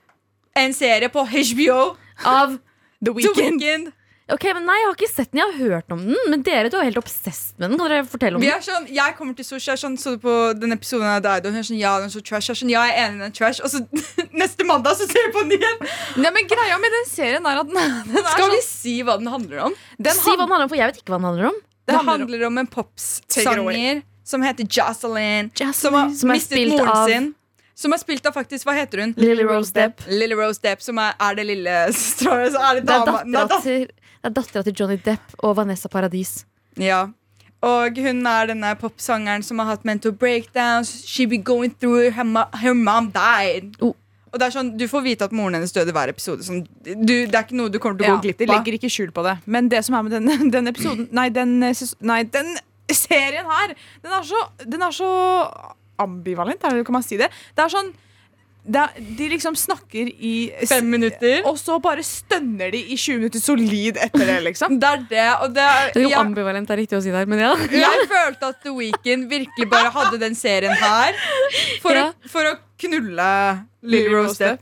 Speaker 5: En serie på HBO.
Speaker 3: av
Speaker 2: The
Speaker 5: The
Speaker 2: Weeknd.
Speaker 5: Weekend.
Speaker 3: Ok, men Nei, jeg har ikke sett den. Jeg har hørt om den. Men dere du er helt obsess med den. Kan dere fortelle om
Speaker 5: Vi
Speaker 3: den?
Speaker 5: er sånn, jeg kommer til Sosh, jeg er sånn, så du på den episoden av The Idol, hun er sånn, ja, den er så trash, jeg er sånn, ja, jeg er enig, den er trash, og så neste mandag så ser vi på den igjen.
Speaker 2: Nei, men greia med den serien er at den, den er
Speaker 5: Skal
Speaker 2: sånn-
Speaker 5: vi si hva den handler om?
Speaker 2: den
Speaker 3: Si hva
Speaker 2: han-
Speaker 3: den handler om, for jeg vet ikke hva den handler om.
Speaker 5: Det
Speaker 2: handler om-
Speaker 5: handler om en
Speaker 2: Take it away.
Speaker 5: popsanger som heter Jocelyn, som har
Speaker 3: Jocelyn, som er
Speaker 5: mistet
Speaker 3: spilt
Speaker 5: moren
Speaker 3: av-
Speaker 5: sin, som er spilt av faktisk, hva heter hun?
Speaker 3: Lily Rose Depp.
Speaker 5: Lily Rose Depp, som er, er det lille søstra, så er det
Speaker 3: Det er
Speaker 5: dama. Nei,
Speaker 3: dattera til, det er dattera til Johnny Depp og Vanessa Paradis.
Speaker 5: Ja. Og hun er denne popsangeren som har hatt mental breakdowns. She be going through it. Her, mo- her mom died.
Speaker 3: Oh.
Speaker 5: Og det er sånn, Du får vite at moren hennes døde hver episode. Sånn, du, det er ikke noe du kommer til å
Speaker 2: ja,
Speaker 5: gå
Speaker 2: De
Speaker 5: glipp av.
Speaker 2: legger ikke skjul på det. Men det som er med den, den episoden Nei, den, ses- nei, den serien her, den er så, den er så ambivalent, er det, kan man si det? Det er sånn det er, de liksom snakker i
Speaker 5: Fem minutter.
Speaker 2: Og så bare stønner de i 20 minutter solid etter det, liksom.
Speaker 5: Det er det. Og det er,
Speaker 3: Det er jo
Speaker 5: jeg,
Speaker 3: ambivalent, det er riktig å si der, men ja.
Speaker 5: jeg følte at The Weeknd virkelig bare hadde den serien her for,
Speaker 3: Ja.
Speaker 5: å, for å knulle Lily Rose Depp.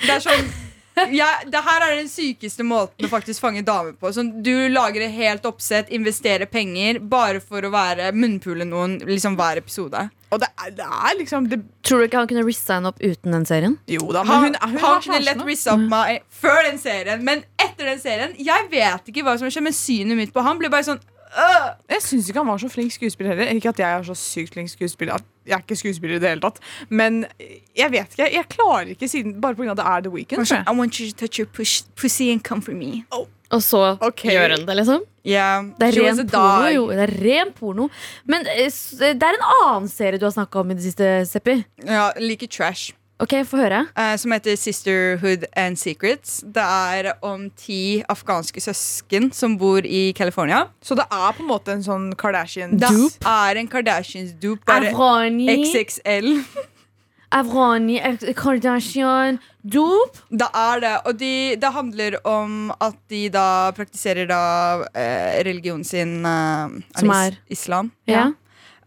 Speaker 5: Det er sånn jeg, det her er den sykeste måten å faktisk fange damer på. Sånn, du lager et helt oppsett, investerer penger bare for å være munnpule noen liksom hver episode.
Speaker 2: Og det er, det er liksom det,
Speaker 3: Tror du ikke han kunne resigne opp uten den serien?
Speaker 2: Jo da,
Speaker 5: Han,
Speaker 2: men hun, hun
Speaker 5: han
Speaker 2: har
Speaker 5: kunne
Speaker 2: sjansen.
Speaker 5: lett
Speaker 2: da.
Speaker 3: Mm.
Speaker 5: rissa opp meg før den serien, men etter den serien Jeg vet ikke hva som skjer, men synet mitt på han blir bare sånn øh.
Speaker 2: Jeg syns ikke han var så flink skuespiller heller. Ikke at jeg er så sykt flink skuespiller. at Jeg er ikke skuespiller i det hele tatt. Men jeg vet ikke. Jeg klarer ikke siden Bare pga. det er The Weeknd. tror jeg.
Speaker 5: I want you to touch your push, pussy and come for me.
Speaker 3: Og så
Speaker 2: Ok.
Speaker 3: gjør han det, liksom?
Speaker 5: Yeah,
Speaker 3: Det er
Speaker 5: she was
Speaker 3: ren
Speaker 5: a
Speaker 3: porno,
Speaker 5: dog.
Speaker 3: jo. Det er ren porno. eh, Men eh, s- det er en annen serie du har snakka om i det siste, Seppi.
Speaker 5: Ja, like trash.
Speaker 3: Ok, få høre.
Speaker 5: eh, som heter Sisterhood and Secrets. Det er om ti afghanske søsken som bor i California.
Speaker 2: Så det er på en måte en sånn
Speaker 5: Det
Speaker 2: Kardashian-dupe.
Speaker 5: er en Kardashians-dupe. Bare
Speaker 3: Avrani,
Speaker 5: XXL.
Speaker 3: Avrani, eh, Kardashian, dop.
Speaker 5: Det er det. Og de, det handler om at de da praktiserer da eh, religionen sin eh,
Speaker 3: Som
Speaker 5: is-
Speaker 3: er?
Speaker 5: islam.
Speaker 3: Ja.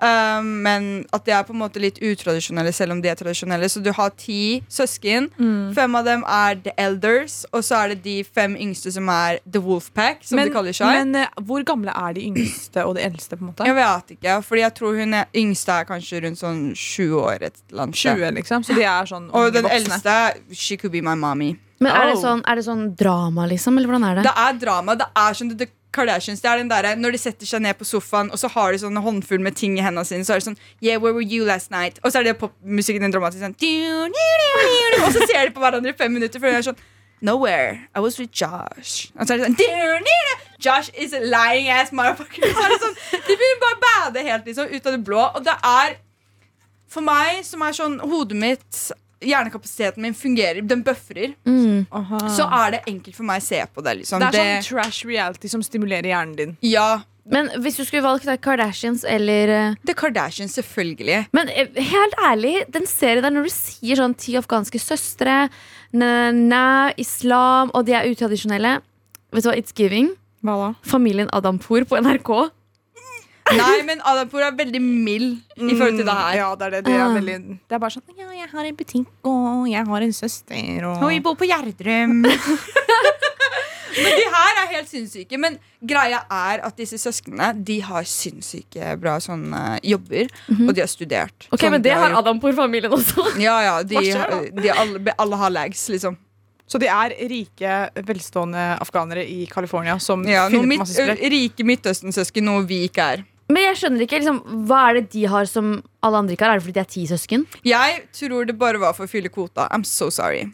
Speaker 5: Eh, men at de er på en måte litt utradisjonelle, selv om de er tradisjonelle. Så du har ti søsken.
Speaker 2: Mm.
Speaker 5: Fem av dem er The Elders, og så er det de fem yngste som er The Wolf Pack. Som de kaller seg.
Speaker 2: men eh, hvor gamle er de yngste og de eldste? på en måte?
Speaker 5: Jeg vet ikke, fordi jeg tror hun er, yngste er kanskje rundt sånn 20 år. Et eller annet.
Speaker 2: 20, liksom. Så de er sånn
Speaker 5: Og den
Speaker 2: voksne.
Speaker 5: eldste, she could be my mommy.
Speaker 3: Men er det,
Speaker 2: Oh.
Speaker 3: sånn, er det sånn drama, liksom? Eller hvordan er det?
Speaker 5: Det er drama. Det er som The Kardashians. Det er den derre når de setter seg ned på sofaen, og så har de sånn en håndfull med ting i hendene sine, så er det sånn Yeah, where were you last night? Og så er det popmusikken den dramatiske sånn du, du, du, du, Og så ser de på hverandre i fem minutter før de er sånn Nowhere. I was with Josh. Og så er det sånn du, du, du. Josh is a lying ass motherfucker. Så er det sånn, De begynner bare å bade helt liksom ut av det blå. Og det er for meg, som er sånn Hodet mitt, hjernekapasiteten min fungerer. Den bøfrer.
Speaker 2: Aha.
Speaker 5: Så er det enkelt for meg å se på det. liksom
Speaker 2: Mm. det er sånn trash reality som stimulerer hjernen din.
Speaker 5: Ja,
Speaker 3: Men hvis du skulle valgt da, Kardashians eller eh,
Speaker 5: The Kardashians, selvfølgelig.
Speaker 3: Men eh, helt ærlig, den serien der når du sier sånn ti afghanske søstre, na, na, islam, og de er utradisjonelle Vet du hva, It's Giving.
Speaker 2: Hva da?
Speaker 3: Familien Adampour på NRK.
Speaker 5: Nei, men Adampour er veldig mild i forhold til det her.
Speaker 2: Mm, Ja, det er det. Det er,
Speaker 3: Ah.
Speaker 2: veldig, det er bare sånn Ja, jeg har en butikk, og jeg har en søster, og
Speaker 5: Oi, bor på Gjerdrum. men de her er helt sinnssyke. Men greia er at disse søsknene De har sinnssyke bra sånne jobber,
Speaker 2: Mhm.
Speaker 5: og de har studert.
Speaker 3: Ok,
Speaker 5: Sånn,
Speaker 3: Men
Speaker 5: de
Speaker 3: det har Adampour-familien også.
Speaker 5: Ja, ja, de,
Speaker 2: Hva skjer
Speaker 5: de alle, alle har lags, liksom.
Speaker 2: Så de er rike, velstående afghanere i California som
Speaker 5: Ja, noe
Speaker 2: finner
Speaker 5: midt,
Speaker 2: på masse sprøtt.
Speaker 5: rike Midtøsten-søsken, noe vi ikke er.
Speaker 3: Men jeg skjønner ikke, liksom, hva er det de har som alle andre ikke har? Er det fordi de er ti søsken?
Speaker 5: Jeg tror det bare var for å fylle kvota. I'm so sorry.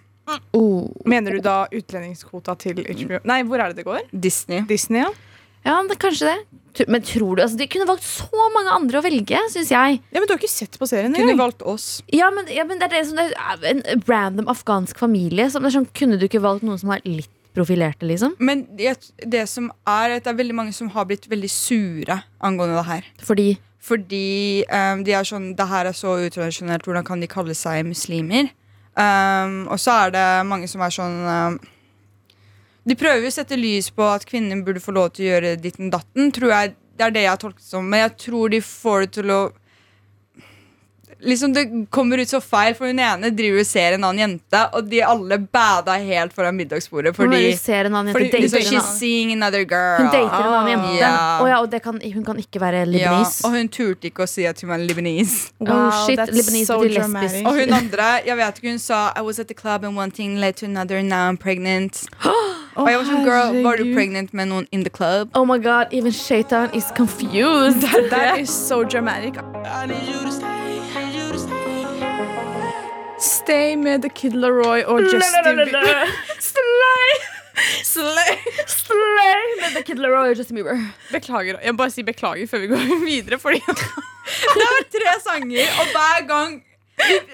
Speaker 3: Oh.
Speaker 2: Mener du da utlendingskvota til HBO? Nei, hvor er det det går?
Speaker 5: Disney.
Speaker 2: Disney, ja?
Speaker 3: Ja, det, kanskje det. Tro- Men tror du, altså, De kunne valgt så mange andre å velge, syns jeg.
Speaker 2: Ja, men Du har ikke sett på serien
Speaker 5: Kunne
Speaker 2: engang?
Speaker 5: valgt oss.
Speaker 3: Ja, men, ja, men det er det som det er En random afghansk familie. Som det er sånn, kunne du ikke valgt noen som er litt profilerte, liksom?
Speaker 5: Men det, det som er at det er veldig mange som har blitt veldig sure angående det her.
Speaker 3: Fordi
Speaker 5: Fordi ehm, de er sånn Det her er så utradisjonelt, hvordan kan de kalle seg muslimer? Ehm, og så er det mange som er sånn ehm, De prøver jo å sette lys på at kvinner burde få lov til å gjøre ditten datten. Tror jeg, det er det jeg har tolket som. Men jeg tror de får det til å Liksom Det kommer ut så feil, for hun ene driver og ser en annen jente, og de alle bada helt foran middagsbordet.
Speaker 3: Fordi,
Speaker 5: Fordi
Speaker 3: du ser en annen
Speaker 5: fordi
Speaker 3: jente, dater en
Speaker 5: she's
Speaker 3: annen.
Speaker 5: seeing another girl.
Speaker 3: Hun dater en annen jente.
Speaker 5: Ja.
Speaker 3: Å ja, og det kan, hun kan ikke være libanis.
Speaker 5: Ja, og hun turte ikke å si at hun var libanese.
Speaker 3: Oh, shit,
Speaker 2: that's
Speaker 3: libanis betyr
Speaker 2: dramatic.
Speaker 3: lesbisk.
Speaker 5: Og hun andre jeg vet ikke, hun sa I was at the club and one thing led to another, now I'm pregnant.
Speaker 2: Å,
Speaker 5: og jeg var sånn, girl, var du
Speaker 2: herregud.
Speaker 5: pregnant med noen in the club?
Speaker 3: Oh my god, even Shaytown is confused.
Speaker 2: That is so dramatic. Stay med The Kid Laroi og Justin Bieber.
Speaker 3: Slay! Slay! Slay! Med The Kid Laroi og Justin Bieber.
Speaker 2: Beklager. Jeg må bare si beklager før vi går videre, fordi
Speaker 5: Det var tre sanger, og hver gang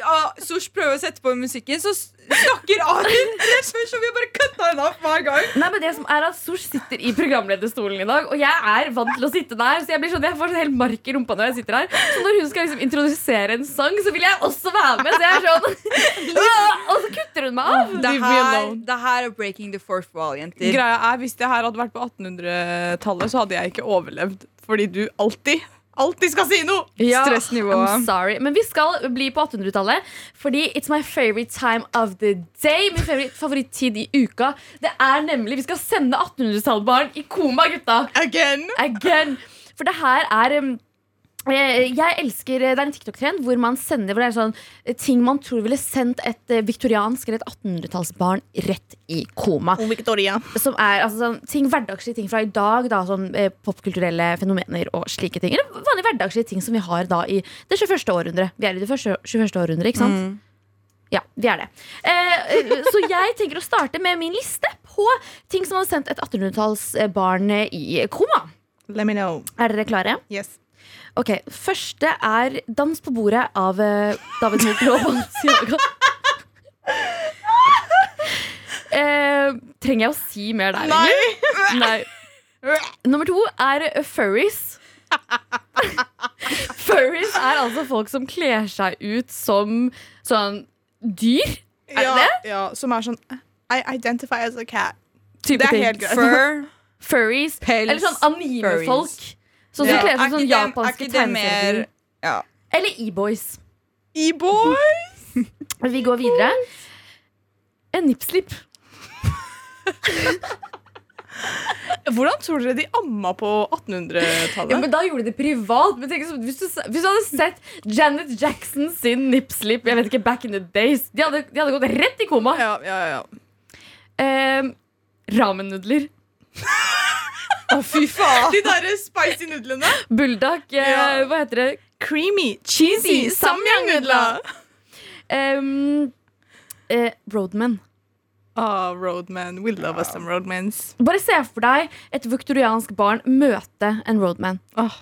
Speaker 5: ah, Sosh prøver å sette på musikken, så s- snakker Arin rett før, så vi bare kutta henne opp hver gang.
Speaker 3: Nei, men det som er at Sosh sitter i programlederstolen i dag, og jeg er vant til å sitte der. Så jeg blir sånn, jeg får sånn helt mark i rumpa når jeg sitter her. Så når hun skal liksom introdusere en sang, så vil jeg også være med. Så jeg er sånn Og så kutter hun meg av.
Speaker 5: Det
Speaker 2: Leave me
Speaker 5: her,
Speaker 2: alone.
Speaker 5: det her er breaking the fourth wall, jenter.
Speaker 2: Greia er, Hvis det her hadde vært på 1800-tallet, så hadde jeg ikke overlevd. Fordi du alltid, alltid skal si noe!
Speaker 3: Ja,
Speaker 5: Stressnivået.
Speaker 3: I'm sorry. Men vi skal bli på 1800-tallet, fordi it's my favorite time of the day. Min favoritt, favorittid i uka. Det er nemlig Vi skal sende 1800-tallbarn i koma, gutta!
Speaker 2: Again!
Speaker 3: Again. For det her er um, eh, jeg elsker, eh, Det er en TikTok-trend hvor man sender hvor det er sånn, eh, ting man tror ville sendt et eh, viktoriansk eller et 1800-tallsbarn rett i koma.
Speaker 2: Victoria.
Speaker 3: Som er altså, sånn, ting, Hverdagslige ting fra i dag. Da, sånn, eh, popkulturelle fenomener og slike ting. Eller vanlige hverdagslige ting som vi har da i det 21. århundre. Vi er i det første, 21. århundre, ikke sant? Ja, vi er det. Eh, eh, så jeg tenker å starte med min liste på ting som hadde sendt et 1800-tallsbarn eh, i koma.
Speaker 2: Let me know.
Speaker 3: Er dere klare?
Speaker 2: Yes.
Speaker 3: Ok, Første er 'Dans på bordet' av eh, David Munch-Laaban. Eh, trenger jeg å si mer der,
Speaker 5: Nei.
Speaker 3: egentlig? Nei. Nummer to er furries. furries er altså folk som kler seg ut som sånn dyr. Er det
Speaker 2: ja, Ja, som er sånn I identify as a cat.
Speaker 3: Type
Speaker 2: Det er
Speaker 3: ting.
Speaker 2: helt greit.
Speaker 5: Fur,
Speaker 3: Furries.
Speaker 5: pels
Speaker 3: Eller sånn animefolk. Sånn som
Speaker 5: Ja.
Speaker 3: kler
Speaker 5: Er
Speaker 3: seg
Speaker 5: ikke
Speaker 3: som sånn
Speaker 5: det- er
Speaker 3: japanske
Speaker 5: ikke det mer-
Speaker 3: tegneserier.
Speaker 5: ja.
Speaker 3: Eller e-boys.
Speaker 2: E E-boy!
Speaker 3: Vi går videre. En nippslip.
Speaker 2: Hvordan tror dere de amma på 1800-tallet?
Speaker 3: Ja, men da gjorde de det privat. Men tenk, så- hvis, du, hvis du hadde sett Janet Jackson sin nipslip Jeg vet ikke, back in the days De hadde, de hadde gått rett i koma.
Speaker 2: ja, ja, ja.
Speaker 3: Eh, Ramen-nudler.
Speaker 2: Å, fy faen! De der spicy nudlene.
Speaker 3: Buldak. Eh,
Speaker 2: Ja.
Speaker 3: Hva heter det?
Speaker 2: Creamy, cheesy samyang-nudler.
Speaker 3: Em, Ehm, eh, Roadman.
Speaker 2: Ah, roadman. We love us some roadmans.
Speaker 3: Bare se for deg et viktoriansk barn møte en roadman
Speaker 2: Ah.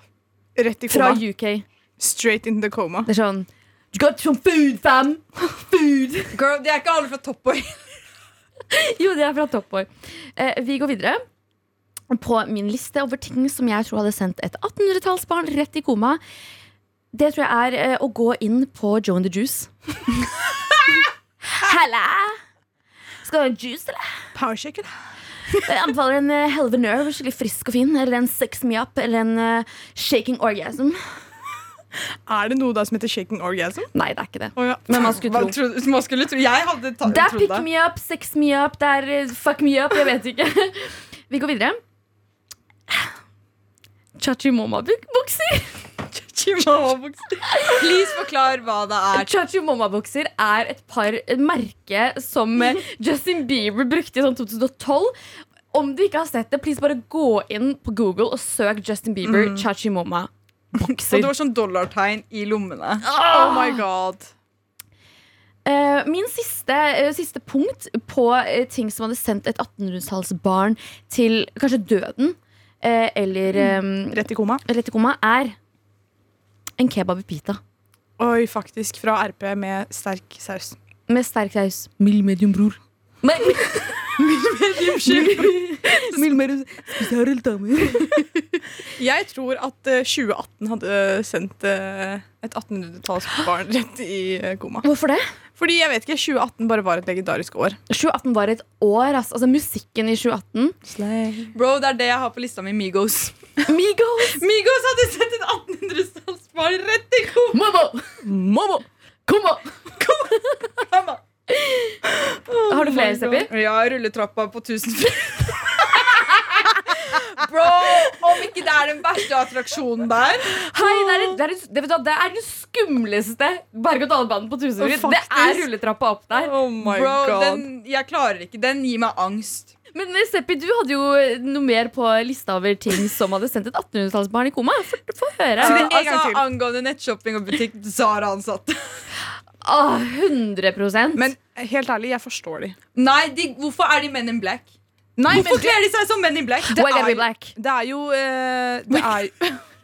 Speaker 2: Rett i
Speaker 3: fra
Speaker 2: koma.
Speaker 3: UK.
Speaker 2: Straight into the coma.
Speaker 3: Det er sånn You got some food, fam! Food!
Speaker 5: Girl, de er ikke alle fra Toppboy.
Speaker 3: Jo, det er fra Top Boy. Eh, vi går videre. På min liste over ting som jeg tror hadde sendt et 1800-tallsbarn rett i koma, det tror jeg er eh, å gå inn på Joe and the Juice. Halla! Skal du ha en juice, eller?
Speaker 2: Powershaker.
Speaker 3: Jeg anbefaler en eh, Hell of a Nerve, skikkelig frisk og fin. Eller en Sex Me Up, eller en eh, Shaking Orgasm.
Speaker 2: Er det noe da som heter shaking orgasm?
Speaker 3: Nei, det er ikke det.
Speaker 2: Å ja.
Speaker 3: Men man skulle
Speaker 5: Hva
Speaker 3: tro.
Speaker 5: trodde- man skulle tro. Jeg hadde ta,
Speaker 3: Det er
Speaker 5: trodd
Speaker 3: pick
Speaker 5: det.
Speaker 3: me up, sex me up, det er eh, fuck me up, jeg vet ikke. Vi går videre. Chachimoma-bukser.
Speaker 5: Chihuahua-bukser. Please forklar hva det er.
Speaker 3: Chachimoma-bukser er et par et merke som eh, Justin Bieber brukte i sånn 2012. Om du ikke har sett det, please bare gå inn på Google og søk Justin Bieber
Speaker 5: Mm. Og det
Speaker 3: Chachimoma-bukser.
Speaker 5: var sånn dollartegn i lommene.
Speaker 2: Oh my god.
Speaker 3: Eh, Min siste, eh, siste punkt på eh, ting som hadde sendt et 1800-tallsbarn til kanskje døden, eh, eller
Speaker 5: Mm.
Speaker 3: eh,
Speaker 2: Rett i koma.
Speaker 3: rett i koma er en kebab i pita
Speaker 2: Oi, faktisk. Fra RP med sterk saus.
Speaker 3: med sterk saus. Mild medium, bror. Mild medium, spesiell dame.
Speaker 2: Jeg tror at eh, 2018 hadde sendt eh, et 1800-tallsbarn rett i eh, koma.
Speaker 3: Hvorfor det?
Speaker 2: Fordi jeg vet ikke, 2018 bare var et legendarisk år.
Speaker 3: 2018 var et år, ass. altså. Musikken i 2018.
Speaker 5: Bro, det er det jeg har på lista mi. Migos.
Speaker 3: Migos!
Speaker 5: Migos hadde sendt et 1800-tallsbarn rett i koma!
Speaker 3: Mamma!
Speaker 2: Mamma!
Speaker 3: Komma! Har du flere stepper?
Speaker 5: Ja, rulletrappa på 1000 Bro, om ikke det er den verste attraksjonen der
Speaker 3: Hei, det er, det, er, det, vet du, hva, det er den skumleste berg-og-dal-banen på Tusenfryd.
Speaker 2: Å,
Speaker 3: Det er
Speaker 2: faktisk.
Speaker 3: rulletrappa opp der.
Speaker 2: Oh my
Speaker 5: Bro,
Speaker 2: god.
Speaker 5: den, jeg klarer ikke. Den gir meg angst.
Speaker 3: Men eh, Seppi, du hadde jo eh, noe mer på lista over ting som hadde sendt et 1800-tallsbarn i koma. Få- Få høre.
Speaker 2: Så det- en gang
Speaker 5: altså,
Speaker 2: til.
Speaker 5: Angående nettshopping og butikk, Zara-ansatte.
Speaker 3: Ah, 100
Speaker 2: Men eh, helt ærlig, jeg forstår de.
Speaker 5: Nei, de, hvorfor er de Men in Black?
Speaker 2: Nei,
Speaker 5: Hvorfor kler de seg som Men in Black?
Speaker 3: det
Speaker 2: er-
Speaker 3: er, black.
Speaker 2: Det er jo eh, det, er,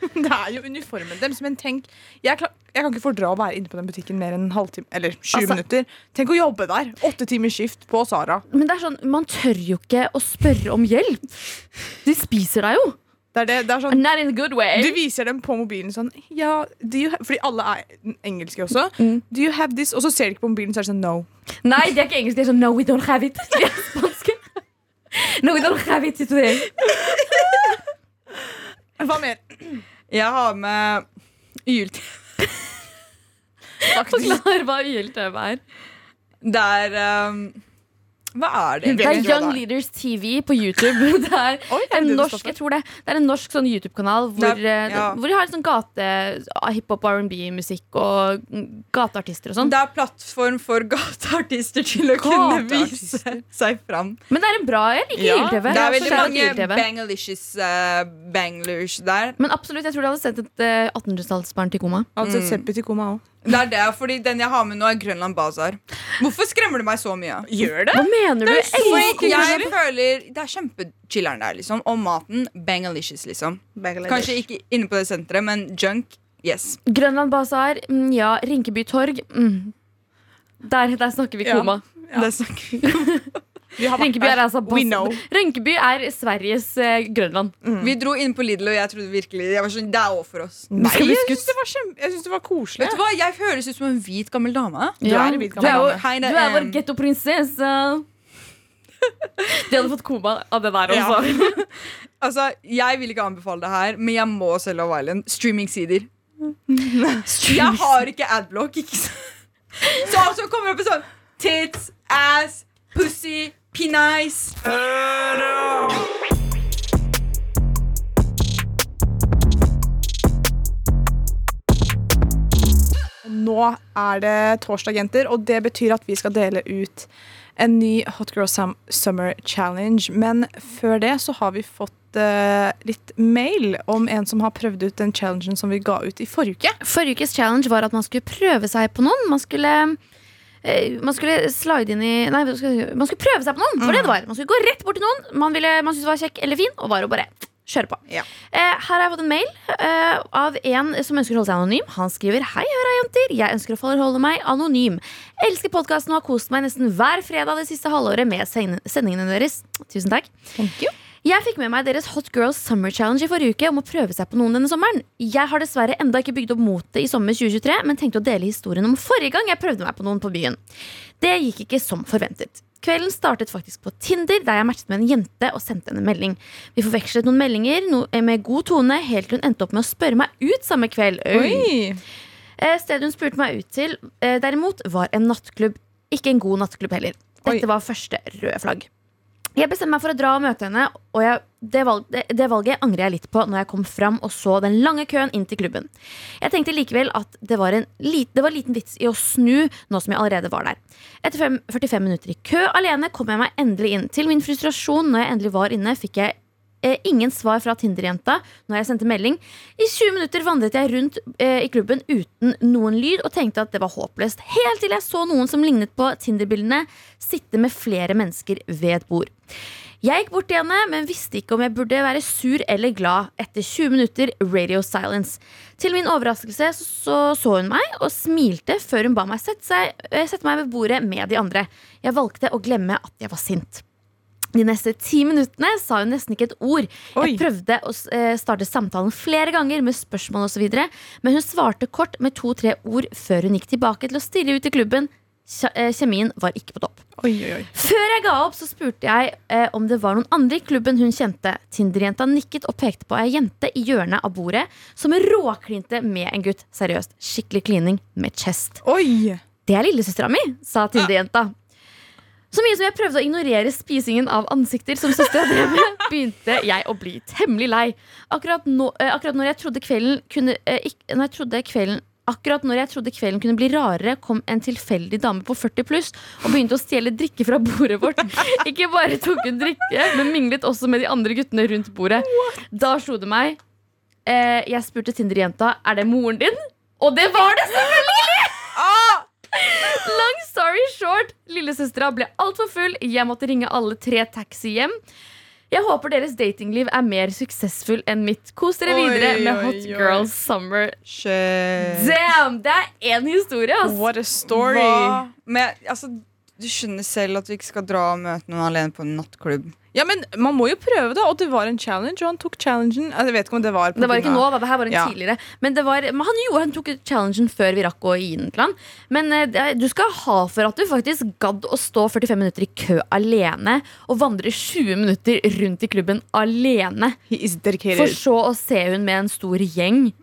Speaker 2: det er jo uniformen deres, men tenk jeg, klar, jeg kan ikke fordra å være inne på den butikken mer enn en halvtime Eller 20
Speaker 3: Altså-
Speaker 2: minutter. Tenk å jobbe der! Åtte timers skift på Sara.
Speaker 3: Men det er sånn, man tør jo ikke å spørre om hjelp. De spiser deg jo.
Speaker 2: Det er det, det er sånn,
Speaker 3: Not in a good way.
Speaker 2: du viser dem på mobilen sånn ja, do you ha-" Fordi alle er engelske også.
Speaker 3: Mm.
Speaker 2: Do you have this? Og så ser de ikke på mobilen, så er det sånn no.
Speaker 3: Nei, de er ikke engelske. De er sånn No, we don't have it. De er spanske. No, we don't have it today.
Speaker 2: Hva mer?
Speaker 5: Jeg har med YLT.
Speaker 2: Faktisk.
Speaker 3: Forklar hva YLTV er.
Speaker 5: Det er um, Hva er det
Speaker 2: Hun
Speaker 5: egentlig?
Speaker 3: Det er
Speaker 2: vet ikke hva
Speaker 3: Young
Speaker 2: det
Speaker 3: Leaders TV på YouTube. Det er
Speaker 2: Oi, er det
Speaker 3: en
Speaker 2: det det
Speaker 3: norsk,
Speaker 2: står for?
Speaker 3: jeg tror det, det er en norsk sånn YouTube-kanal hvor,
Speaker 5: Det er-
Speaker 3: eh,
Speaker 5: ja.
Speaker 3: hvor de har sånn gate ah, hiphop, R&B-musikk og mm, gateartister og sånn.
Speaker 5: Det er plattform for gateartister til å kunne vise
Speaker 2: Gateartister.
Speaker 5: seg fram.
Speaker 3: Men det er en bra Jeg liker
Speaker 2: Ja,
Speaker 3: YLTV.
Speaker 5: Det er
Speaker 3: Jeg
Speaker 5: veldig
Speaker 3: skjønner at
Speaker 5: mange
Speaker 3: YLTV.
Speaker 5: bangalicious uh, banglers der.
Speaker 3: Men absolutt, jeg tror de hadde sendt et eh, 1800-tallsbarn til koma.
Speaker 2: Altså et seppi til koma òg.
Speaker 5: Det er det, fordi Den jeg har med nå, er Grønland Bazar. Hvorfor skremmer det meg så mye?
Speaker 2: Gjør det?
Speaker 3: Hva mener du? Jeg elsker
Speaker 5: Fordi
Speaker 3: Grønland
Speaker 5: jeg føler Det er kjempechiller'n der, liksom. Og maten bangalicious, liksom. Kanskje ikke inne på det senteret, men junk. Yes.
Speaker 3: Grønland Basar, mm, ja. Rinkeby torg. Mm. Der, der snakker vi
Speaker 2: Ja.
Speaker 3: koma.
Speaker 5: Det snakker vi om.
Speaker 2: Vi har vært
Speaker 3: Rønkeby er
Speaker 2: der.
Speaker 3: altså
Speaker 2: We know.
Speaker 3: Rønkeby er Sveriges eh, Grønland.
Speaker 5: Vi dro inn på Lidl, og jeg trodde virkelig jeg var sånn, Det er over for oss.
Speaker 2: Nei,
Speaker 3: skal bli
Speaker 2: jeg syns det, var kjem- jeg synes det var koselig.
Speaker 5: Vet du hva, Jeg høres ut som en hvit, gammel dame.
Speaker 2: Du
Speaker 3: Ja.
Speaker 2: er en hvit
Speaker 3: Du er
Speaker 2: gammel
Speaker 3: jo-
Speaker 2: dame.
Speaker 5: Hei,
Speaker 3: Du
Speaker 5: det-
Speaker 3: er vår
Speaker 5: em,
Speaker 3: gettoprinsesse. De hadde fått koma av det der
Speaker 5: Ja.
Speaker 3: også.
Speaker 5: Altså, Jeg vil ikke anbefale det her, men jeg må selge Love Island. Streamingsider. Jeg har ikke adblock, ikke sant? Så alt som kommer opp er sånn Tits, ass, pussy, penis.
Speaker 2: Nå er det torsdag, jenter, og det betyr at vi skal dele ut en ny Hot Girl Sam Summer Challenge. Men før det så har vi fått eh, litt mail om en som har prøvd ut den challengen som vi ga ut i forrige uke.
Speaker 3: Forrige ukes challenge var at man skulle prøve seg på noen. Man skulle, eh, man skulle slide inn i Nei, hva skal jeg si? man skulle prøve seg på noen. For det det var. Man skulle gå rett bort til noen man, ville, man syntes var kjekk eller fin, og bare, bare kjøre på.
Speaker 5: Ja.
Speaker 3: Eh, her har jeg fått en mail eh, av en som ønsker å holde seg anonym. Han skriver Hei, høra jenter. Jeg ønsker å forholde meg anonym. Elsker podkasten og har kost meg nesten hver fredag det siste halvåret med sen- sendingene deres. Tusen takk. Jeg fikk med meg deres Hot Girls Summer Challenge i forrige uke om å prøve seg på noen denne sommeren. Jeg har dessverre enda ikke bygd opp motet i sommer 2023, men tenkte å dele historien om forrige gang jeg prøvde meg på noen på byen. Det gikk ikke som forventet. Kvelden startet faktisk på Tinder, der jeg matchet med en jente og sendte henne en melding. Vi forvekslet noen meldinger no eh, med god tone, helt til hun endte opp med å spørre meg ut samme kveld. Eh, Stedet hun spurte meg ut til, eh, derimot, var en nattklubb. Ikke en god nattklubb heller. Dette
Speaker 2: Oi.
Speaker 3: var første røde flagg. Jeg bestemte meg for å dra og møte henne, og jeg, det, valg, det, det valget angrer jeg litt på når jeg kom fram og så den lange køen inn til klubben. Jeg tenkte likevel at det var, en lit, det var liten vits i å snu nå som jeg allerede var der. Etter fem, 45 minutter i kø alene kom jeg meg endelig inn. Til min frustrasjon når jeg endelig var inne, fikk jeg eh, ingen svar fra Tinder-jenta når jeg sendte melding. I 20 minutter vandret jeg rundt eh, i klubben uten noen lyd og tenkte at det var håpløst. Helt til jeg så noen som lignet på Tinder-bildene, sitte med flere mennesker ved et bord. Jeg gikk bort til henne, men visste ikke om jeg burde være sur eller glad. Etter 20 minutter radio silence. Til min overraskelse så- så, så hun meg og smilte før hun ba meg sette, seg, eh, sette meg ved bordet med de andre. Jeg valgte å glemme at jeg var sint. De neste ti minuttene sa hun nesten ikke et ord.
Speaker 2: Oi.
Speaker 3: Jeg prøvde å s- eh, starte samtalen flere ganger med spørsmål osv., men hun svarte kort med to-tre ord før hun gikk tilbake til å stirre ut i klubben. Kje- eh, Kjemien var ikke på topp.
Speaker 2: Oi, oi, oi.
Speaker 3: Før jeg ga opp, så spurte jeg eh, om det var noen andre i klubben hun kjente. Tinder-jenta nikket og pekte på ei jente i hjørnet av bordet som råklinte med en gutt. Seriøst, skikkelig klining med chest.
Speaker 2: Oi!
Speaker 3: Det er lillesøstera mi, sa Tinder-jenta. Så mye som jeg prøvde å ignorere spisingen av ansikter som søstera drev med, begynte jeg å bli temmelig lei. Akkurat, nå, eh, akkurat når jeg trodde kvelden kunne eh, ikk- Når jeg trodde kvelden Akkurat når jeg trodde kvelden kunne bli rarere, kom en tilfeldig dame på 40 pluss og begynte å stjele drikke fra bordet vårt. Ikke bare tok hun drikke, men minglet også med de andre guttene rundt bordet. Da slo det meg. Eh, jeg spurte Tinder-jenta er det moren din, og det var det selvfølgelig!
Speaker 5: Ah!
Speaker 3: Long story short, lillesøstera ble altfor full. Jeg måtte ringe alle tre taxi hjem. Jeg håper deres datingliv er mer suksessfull enn mitt. Kos dere
Speaker 5: Oi,
Speaker 3: videre med
Speaker 5: oi,
Speaker 3: Hot
Speaker 5: oi.
Speaker 3: Girl Summer.
Speaker 5: Shit.
Speaker 3: Damn, det er én historie, altså. ass!
Speaker 2: What a story!
Speaker 5: Hva? Men altså, du skjønner selv at du ikke skal dra og møte noen alene på en nattklubb.
Speaker 2: Ja, men Man må jo prøve, da. Og det var en challenge, og han tok challengen. Altså, Jeg vet ikke om det var på
Speaker 3: Det var ikke
Speaker 2: grunn
Speaker 3: nå,
Speaker 2: av-
Speaker 3: da. det her var en
Speaker 2: Ja.
Speaker 3: tidligere. Men, det var, men han, gjorde, han tok challengen før vi rakk å gi den til han. Men eh, det- du skal ha for at du faktisk gadd å stå 45 minutter i kø alene og vandre 20 minutter rundt i klubben alene,
Speaker 2: He is dedicated.
Speaker 3: for så å se hun med en stor gjeng.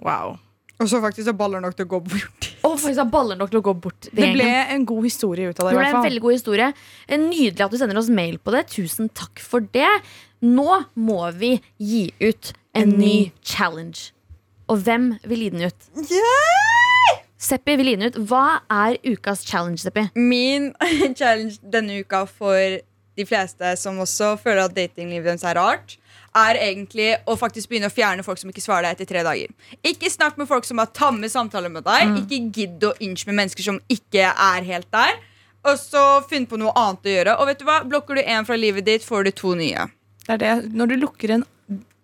Speaker 2: Wow.
Speaker 5: Og så faktisk har baller nok til å gå bort.
Speaker 3: Og faktisk ha baller nok til å gå bort til
Speaker 2: Det ble
Speaker 3: gjengen.
Speaker 2: en god historie ut av det. i
Speaker 3: Det ble
Speaker 2: hvert
Speaker 3: en
Speaker 2: fall.
Speaker 3: veldig god historie. Eh, Nydelig at du sender oss mail på det. Tusen takk for det. Nå må vi gi ut en,
Speaker 2: En
Speaker 3: ny
Speaker 2: ny.
Speaker 3: challenge. Og hvem vil gi den ut? Seppi vil gi den ut. Hva er ukas challenge, Seppi?
Speaker 5: Min challenge denne uka for de fleste som også føler at datinglivet deres er rart, er egentlig å faktisk begynne å fjerne folk som ikke svarer deg etter tre dager. Ikke snakk med folk som har tamme samtaler med deg. Ikke gidd å inch med mennesker som ikke er helt der. Og så finn på noe annet å gjøre. Og vet du hva? Blokker du én fra livet ditt, får du to nye.
Speaker 2: Det er det. Når du lukker en,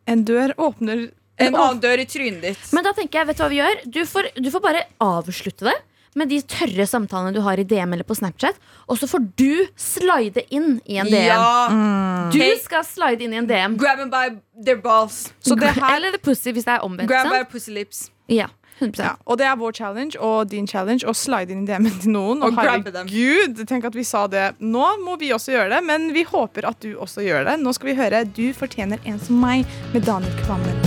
Speaker 2: en dør, åpner Eh,
Speaker 5: En annen dør i trynet ditt.
Speaker 3: Men da tenker jeg, vet du hva vi gjør? Du får, du får bare avslutte det. med de tørre samtalene du har i DM eller på Snapchat, og så får du slide inn i en DM.
Speaker 5: Ja.
Speaker 3: Du skal slide inn i en DM.
Speaker 5: Grab them by their balls.
Speaker 2: Så det her
Speaker 3: Eller pussy, hvis det er omvendt.
Speaker 5: Grab by
Speaker 3: Sant?
Speaker 5: pussy lips.
Speaker 3: Ja, 100
Speaker 2: ja, og det er vår challenge og din challenge å slide inn i DM-en til noen. Og,
Speaker 5: Og grabbe dem.
Speaker 2: herregud, tenk at vi sa det. Nå må vi også gjøre det, men vi håper at du også gjør det. Nå skal vi høre 'Du fortjener en som meg' med Daniel Kvammen.